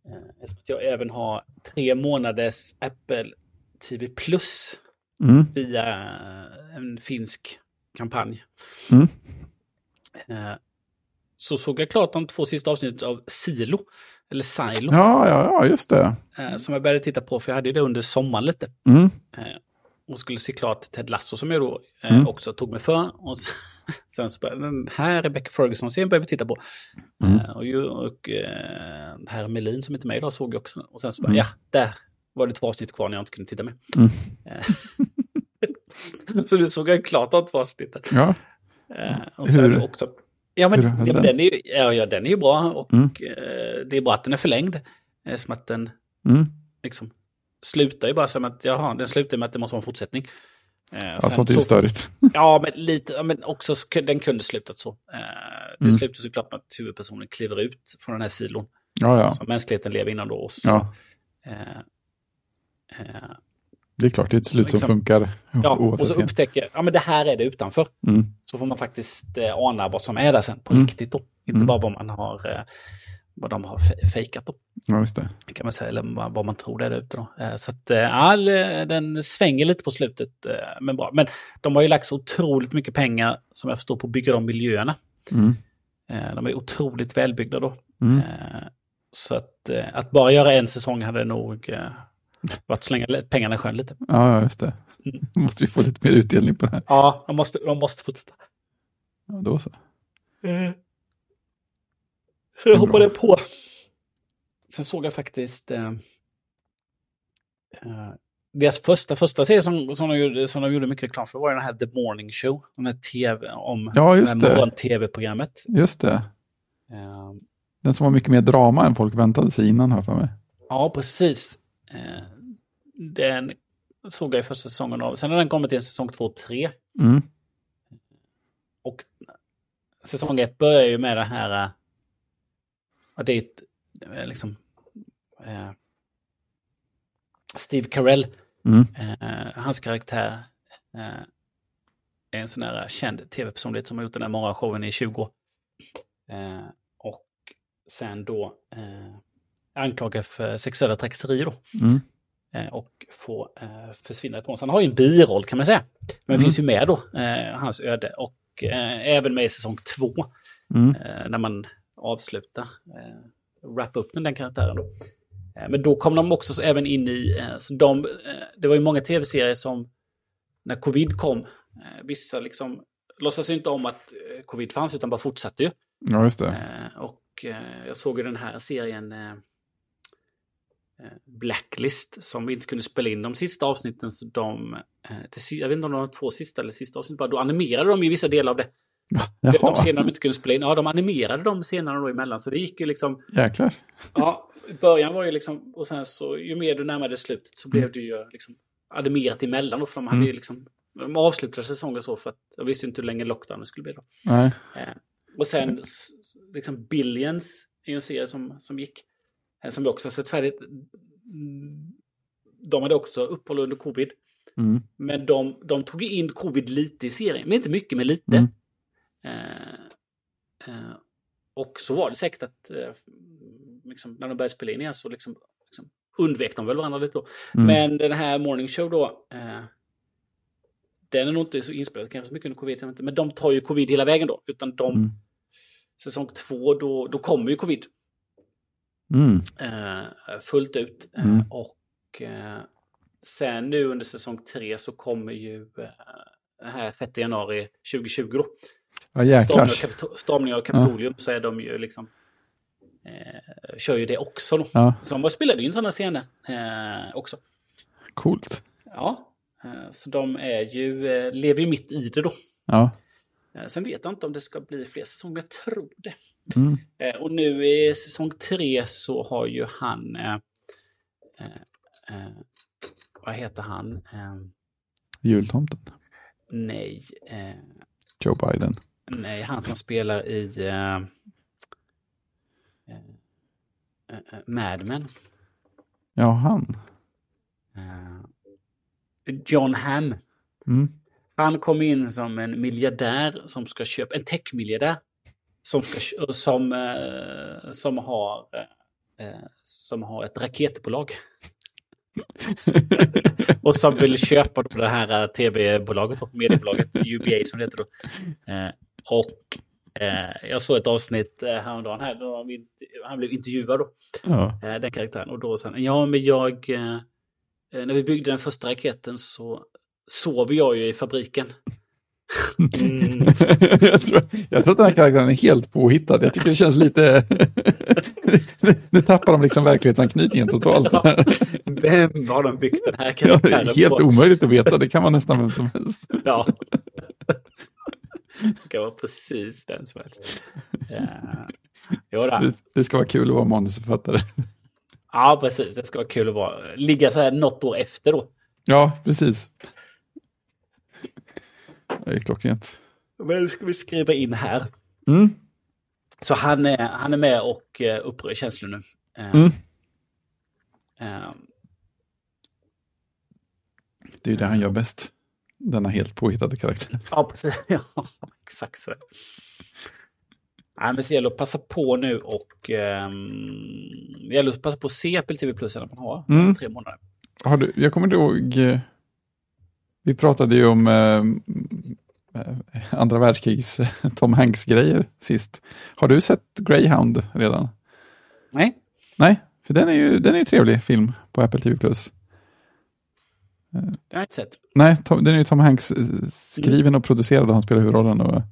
A: eh, eftersom att jag även har tre månaders Apple TV Plus
B: Mm.
A: via en finsk kampanj.
B: Mm.
A: Eh, så såg jag klart de två sista avsnitten av Silo, eller Silo,
B: Ja, ja, ja, just det.
A: eh, som jag började titta på, för jag hade det under sommaren lite.
B: Mm.
A: och skulle se klart Ted Lasso som jag då eh,
B: Mm.
A: också tog mig för. Och sen, sen så började den här Rebecca Ferguson-serien började vi titta på.
B: Mm.
A: Eh, och ju, och eh, den här Melin som inte är med idag såg jag också. Och sen så bara,
B: Mm.
A: ja, där var det två avsnitt kvar när jag inte kunde titta med.
B: Mm.
A: Eh, så nu såg jag klart de två avsnitten.
B: Ja.
A: Eh, och så är
B: Hur-
A: det också, ja, men,
B: hur
A: ja,
B: höll
A: men
B: den?
A: den, är ju, ja, ja, den är ju bra och
B: Mm.
A: eh, det är bra att den är förlängd. Eh, som att den
B: Mm.
A: liksom slutar ju bara som att, jaha, den slutar med att det måste vara en fortsättning. Eh, sen
B: Ja, sånt Alltså, är ju
A: så-
B: störigt.
A: Ja, men lite, ja, men också så, kun- den kunde slutat så. Eh, det
B: Mm.
A: slutar såklart med att huvudpersonen kliver ut från den här silon
B: Ja, ja.
A: som mänskligheten lever inom då. Och så,
B: ja.
A: eh, eh,
B: Det är klart, det är ett slut som
A: Liksom.
B: funkar
A: ja, och så
B: oavsett. igen.
A: upptäcker, ja men det här är det utanför.
B: Mm.
A: Så får man faktiskt eh, ana vad som är där sen på
B: Mm.
A: riktigt då. Inte
B: Mm.
A: bara vad man har, eh, vad de har fe- fejkat då.
B: Ja, just det.
A: Kan man säga, eller vad vad man tror där ute då. Eh, så att eh, ja, den svänger lite på slutet, eh, men bra. Men de har ju lagt så otroligt mycket pengar, som jag förstår, på att bygga de miljöerna.
B: Mm.
A: Eh, De är otroligt välbyggda då.
B: Mm.
A: Eh, Så att, eh, att bara göra en säsong hade nog eh, varit att slänga li- pengarna i sjön lite.
B: Ja, ja, just det.
A: Mm.
B: måste vi få lite mer utdelning på det här.
A: Ja, de måste, de måste fortsätta.
B: Ja, då så.
A: Så jag
B: Bra.
A: Eh, hoppade på. Sen såg jag faktiskt eh, eh, deras första, första serie som, som, de gjorde, som de gjorde mycket reklam för var ju den här The Morning Show. Den här tv om
B: Ja,
A: det
B: just
A: här
B: det.
A: morgon-tv-programmet.
B: Just det.
A: Eh,
B: Den som var mycket mer drama än folk väntade sig innan, har jag för mig.
A: Ja, precis. Eh, Den såg jag i första säsongen av. Sen har den kommit till säsong två och tre.
B: Mm.
A: Och säsong ett börjar ju med det här... eh, Att det är ett, eh, liksom... Eh, Steve Carell,
B: Mm.
A: eh, hans karaktär, eh, är en sån här känd tv-personlighet som har gjort den här morgonshowen i 20 år. Eh, och sen då eh, anklagad för sexuella trakasserier då.
B: Mm.
A: Eh, och få eh, försvinna ifrån. Så han har ju en biroll kan man säga. Men
B: Mm.
A: finns ju med då, eh, hans öde. Och eh, även med i säsong två,
B: Mm.
A: eh, när man avslutar, eh, wrap upp den, den karaktären då. Eh, men då kom de också så, även in i, eh, så de, eh, det var ju många tv-serier som, när covid kom, eh, vissa liksom låtsas ju inte om att eh, covid fanns utan bara fortsatte ju.
B: Ja, just det.
A: Eh, och eh, jag såg ju den här serien eh, eh, Blacklist som vi inte kunde spela in de sista avsnitten. Så de, eh, det, si- jag vet inte om de var två sista eller sista avsnitten bara, då animerade de ju vissa delar av det. De, de scener de inte kunde spela in, ja de animerade de scenerna då emellan. Så det gick ju liksom,
B: Jäklar.
A: ja, i början var ju liksom, och sen så ju mer du närmade slutet så blev det ju liksom animerat emellan. Och för de hade
B: Mm.
A: ju liksom, de avslutade säsongen så för att jag visste inte hur länge lockdownen skulle bli då.
B: Nej.
A: Och sen s- s- liksom Billions är ju en serie som, som gick. eh, Som vi också har sett färdigt. Mm, De hade också uppehåll under covid.
B: Mm.
A: Men de, de tog ju in covid lite i serien. Men inte mycket, men lite.
B: Mm.
A: Eh, eh, och så var det säkert att eh, liksom, när de började spela in igen så liksom, liksom undvek de väl varandra lite då.
B: Mm.
A: Men den här morning show då. Eh, den är nog inte så inspelad kanske så mycket under covid. jag vet inte, Men de tar ju covid hela vägen då. Utan de,
B: Mm.
A: säsong två då, då kommer ju covid
B: Mm.
A: eh, fullt ut. Eh,
B: Mm.
A: Och eh, sen nu under säsong tre så kommer ju eh, den här 6 januari 2020 då.
B: Ja,
A: Stormning av
B: jäklar.
A: Kapito- Stormning av Kapitolium så är de ju liksom eh, kör ju det också då.
B: Ja,
A: Så de spelade in sådana scener eh, också.
B: coolt.
A: Ja, eh, så de är ju, eh, lever ju mitt i det då.
B: Ja.
A: Eh, sen vet jag inte om det ska bli fler säsonger, jag tror det.
B: Mm.
A: Eh, och nu i säsong tre så har ju han... Eh, eh, eh, vad heter han? Eh,
B: Jultomten.
A: nej, eh,
B: Joe Biden.
A: nej, han som spelar i eh, eh, eh, Mad Men.
B: Ja, han.
A: Eh, John Hamm.
B: Mm.
A: Han kom in som en miljardär som ska köpa, en techmiljardär. Som, ska, kö- som, eh, som, har, eh, eh, som har ett raketbolag. Och som vill köpa då det här eh, tv-bolaget och mediebolaget, UBA som det heter då. Eh, och eh, jag såg ett avsnitt eh, häromdagen här, då de int- han blev intervjuad då,
B: ja.
A: eh, den karaktären. Och då sa han, ja men jag, eh, eh, när vi byggde den första raketen så sov jag ju i fabriken. Mm.
B: jag, tror, jag tror att den här karaktären är helt påhittad. Jag tycker det känns lite... nu tappar de liksom verklighetsanknytningen totalt.
A: Ja, Vem har de byggt den här
B: Ja, det
A: karaktären
B: är helt
A: på?
B: omöjligt att veta. Det kan vara nästan vem som helst.
A: Ja. Det kan vara precis den som helst. Eh, jo, då.
B: Det, det ska vara kul att vara manusförfattare.
A: Ja, precis. Det ska vara kul att vara, ligga så här något år efter då.
B: Ja, precis. Det är klockrent.
A: Men ska vi skriva in här.
B: Mm.
A: Så han är, han är med och eh, upprör känslor nu. Eh,
B: Mm.
A: eh,
B: Det är ju det han gör bäst. Denna helt påhittade karaktär.
A: Ja, precis. Ja, exakt så. Nej, men så gäller det att passa på nu och... ehm, det gäller att passa på att se Apple TV Plus när man har
B: Mm.
A: tre månader.
B: Har du, jag kommer inte ihåg, eh, vi pratade ju om eh, eh, andra världskrigs eh, Tom Hanks-grejer sist. Har du sett Greyhound redan?
A: Nej,
B: Nej, för den är ju, den är ju trevlig film på Apple TV+.
A: det har jag inte sett.
B: Nej, Tom, den är ju Tom Hanks eh, skriven och producerad och han spelar huvudrollen och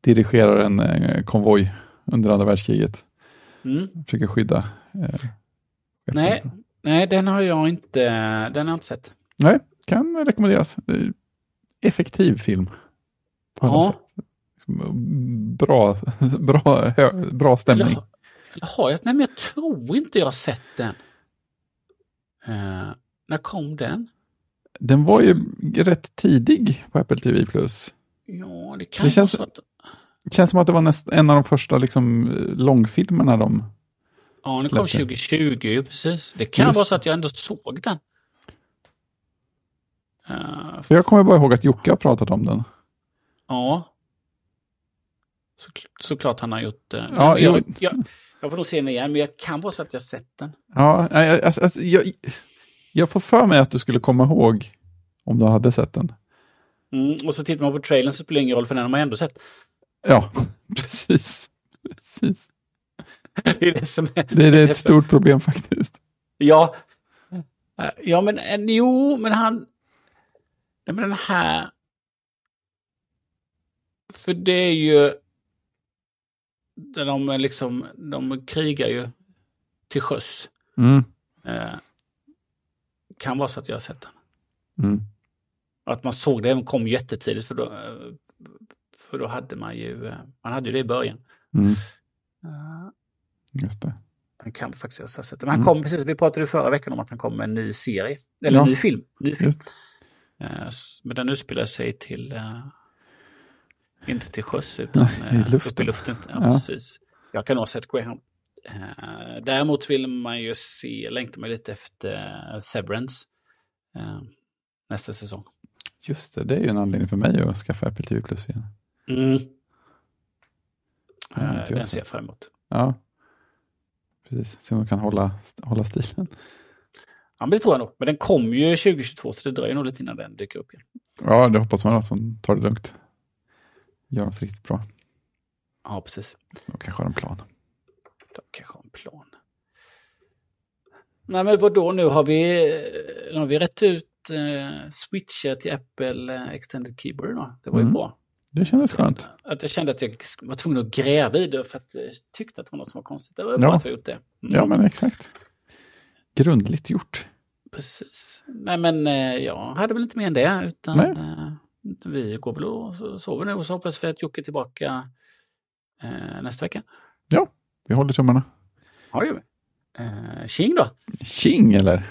B: dirigerar en eh, konvoj under andra världskriget.
A: Mm.
B: Försöker skydda. Eh,
A: Nej. Nej, den har jag inte, den har jag inte sett.
B: Nej, kan rekommenderas. Eh, Effektiv film. På alla
A: Ja.
B: sätt. Bra, bra, hö, bra stämning.
A: Eller, eller har jag? Nej, men jag tror inte jag har sett den. Eh, när kom den?
B: Den var ju rätt tidig på Apple TV+.
A: Ja, det kan
B: Det
A: det
B: känns-
A: känns... vara så att...
B: Känns som att det var näst, en av de första liksom, långfilmerna de...
A: Ja, den kom
B: släppte.
A: 2020, ju, precis. Det kan
B: Just
A: vara så att jag ändå såg den. Eh,
B: För jag kommer bara ihåg att Jocke har pratat om den.
A: Ja. Så, såklart han har gjort det.
B: Ja,
A: Men jag,
B: jo.
A: jag, jag får nog se den igen, men jag kan vara så att jag sett den.
B: Ja, nej, jag- alltså, alltså, jag, jag får för mig att du skulle komma ihåg om du hade sett den.
A: Mm, och så tittar man på trailern så spelar det ingen roll, för den har man ändå sett.
B: Ja, precis. precis.
A: Det är det som är...
B: Det, det är ett stort problem faktiskt.
A: Ja. Eh, Ja, men eh, jo, men han... Nej, men den här... För det är ju... Där de är liksom, de krigar ju till sjöss.
B: Mm.
A: Eh, kan vara så att jag har sett den.
B: Mm.
A: Att man såg det, den kom jättetidigt för då, eh, för då hade man ju, eh, man hade ju det i början.
B: Mm.
A: Eh,
B: Just det.
A: Han kan faktiskt ha sett det. Men han
B: Mm.
A: kom, precis, vi pratade ju förra veckan om att han kom med en ny serie, eller
B: Ja.
A: en ny film. Ny film.
B: Just.
A: Eh, s- Men den utspelar sig till, eh, inte till sjöss utan
B: Nej, i
A: eh, Upp i
B: luften.
A: luften. Ja,
B: Ja.
A: Precis. Jag kan ha sett Greyhound. Eh, Däremot vill man ju se, längtar man lite efter eh, Severance eh, nästa säsong.
B: Just det, det är ju en anledning för mig att skaffa Apple TV Plus igen.
A: Mm.
B: Ja, inte
A: Eh,
B: jag
A: Den
B: sett.
A: ser jag fram emot.
B: Ja, precis. Så man kan hålla, hålla stilen.
A: Ja, men det tror jag nog. Men den kommer ju 2022, så det dröjer nog lite innan den dyker upp igen.
B: Ja, det hoppas man att de tar det lugnt. Gör något riktigt bra.
A: Ja, precis.
B: De kanske har en plan.
A: De kanske har en plan. Nej, men vad då nu? Har vi, eh, har vi rätt ut eh, switcha till Apple eh, Extended Keyboard då? Det var ju
B: Mm.
A: bra.
B: Det kändes skönt.
A: Att jag kände att jag var tvungen att gräva i det för att jag tyckte att det var något som var konstigt. Det var bra
B: Ja.
A: att vi har gjort det. Mm.
B: Ja, men exakt. Grundligt gjort.
A: Precis. Nej, men eh, jag hade väl inte mer än det. Utan,
B: Nej.
A: eh, vi går väl och so- sover nu och så hoppas vi att Jocke är tillbaka eh, nästa vecka.
B: Vi håller tummarna.
A: Ja, det gör vi. Eh, tjing då!
B: Tjing eller?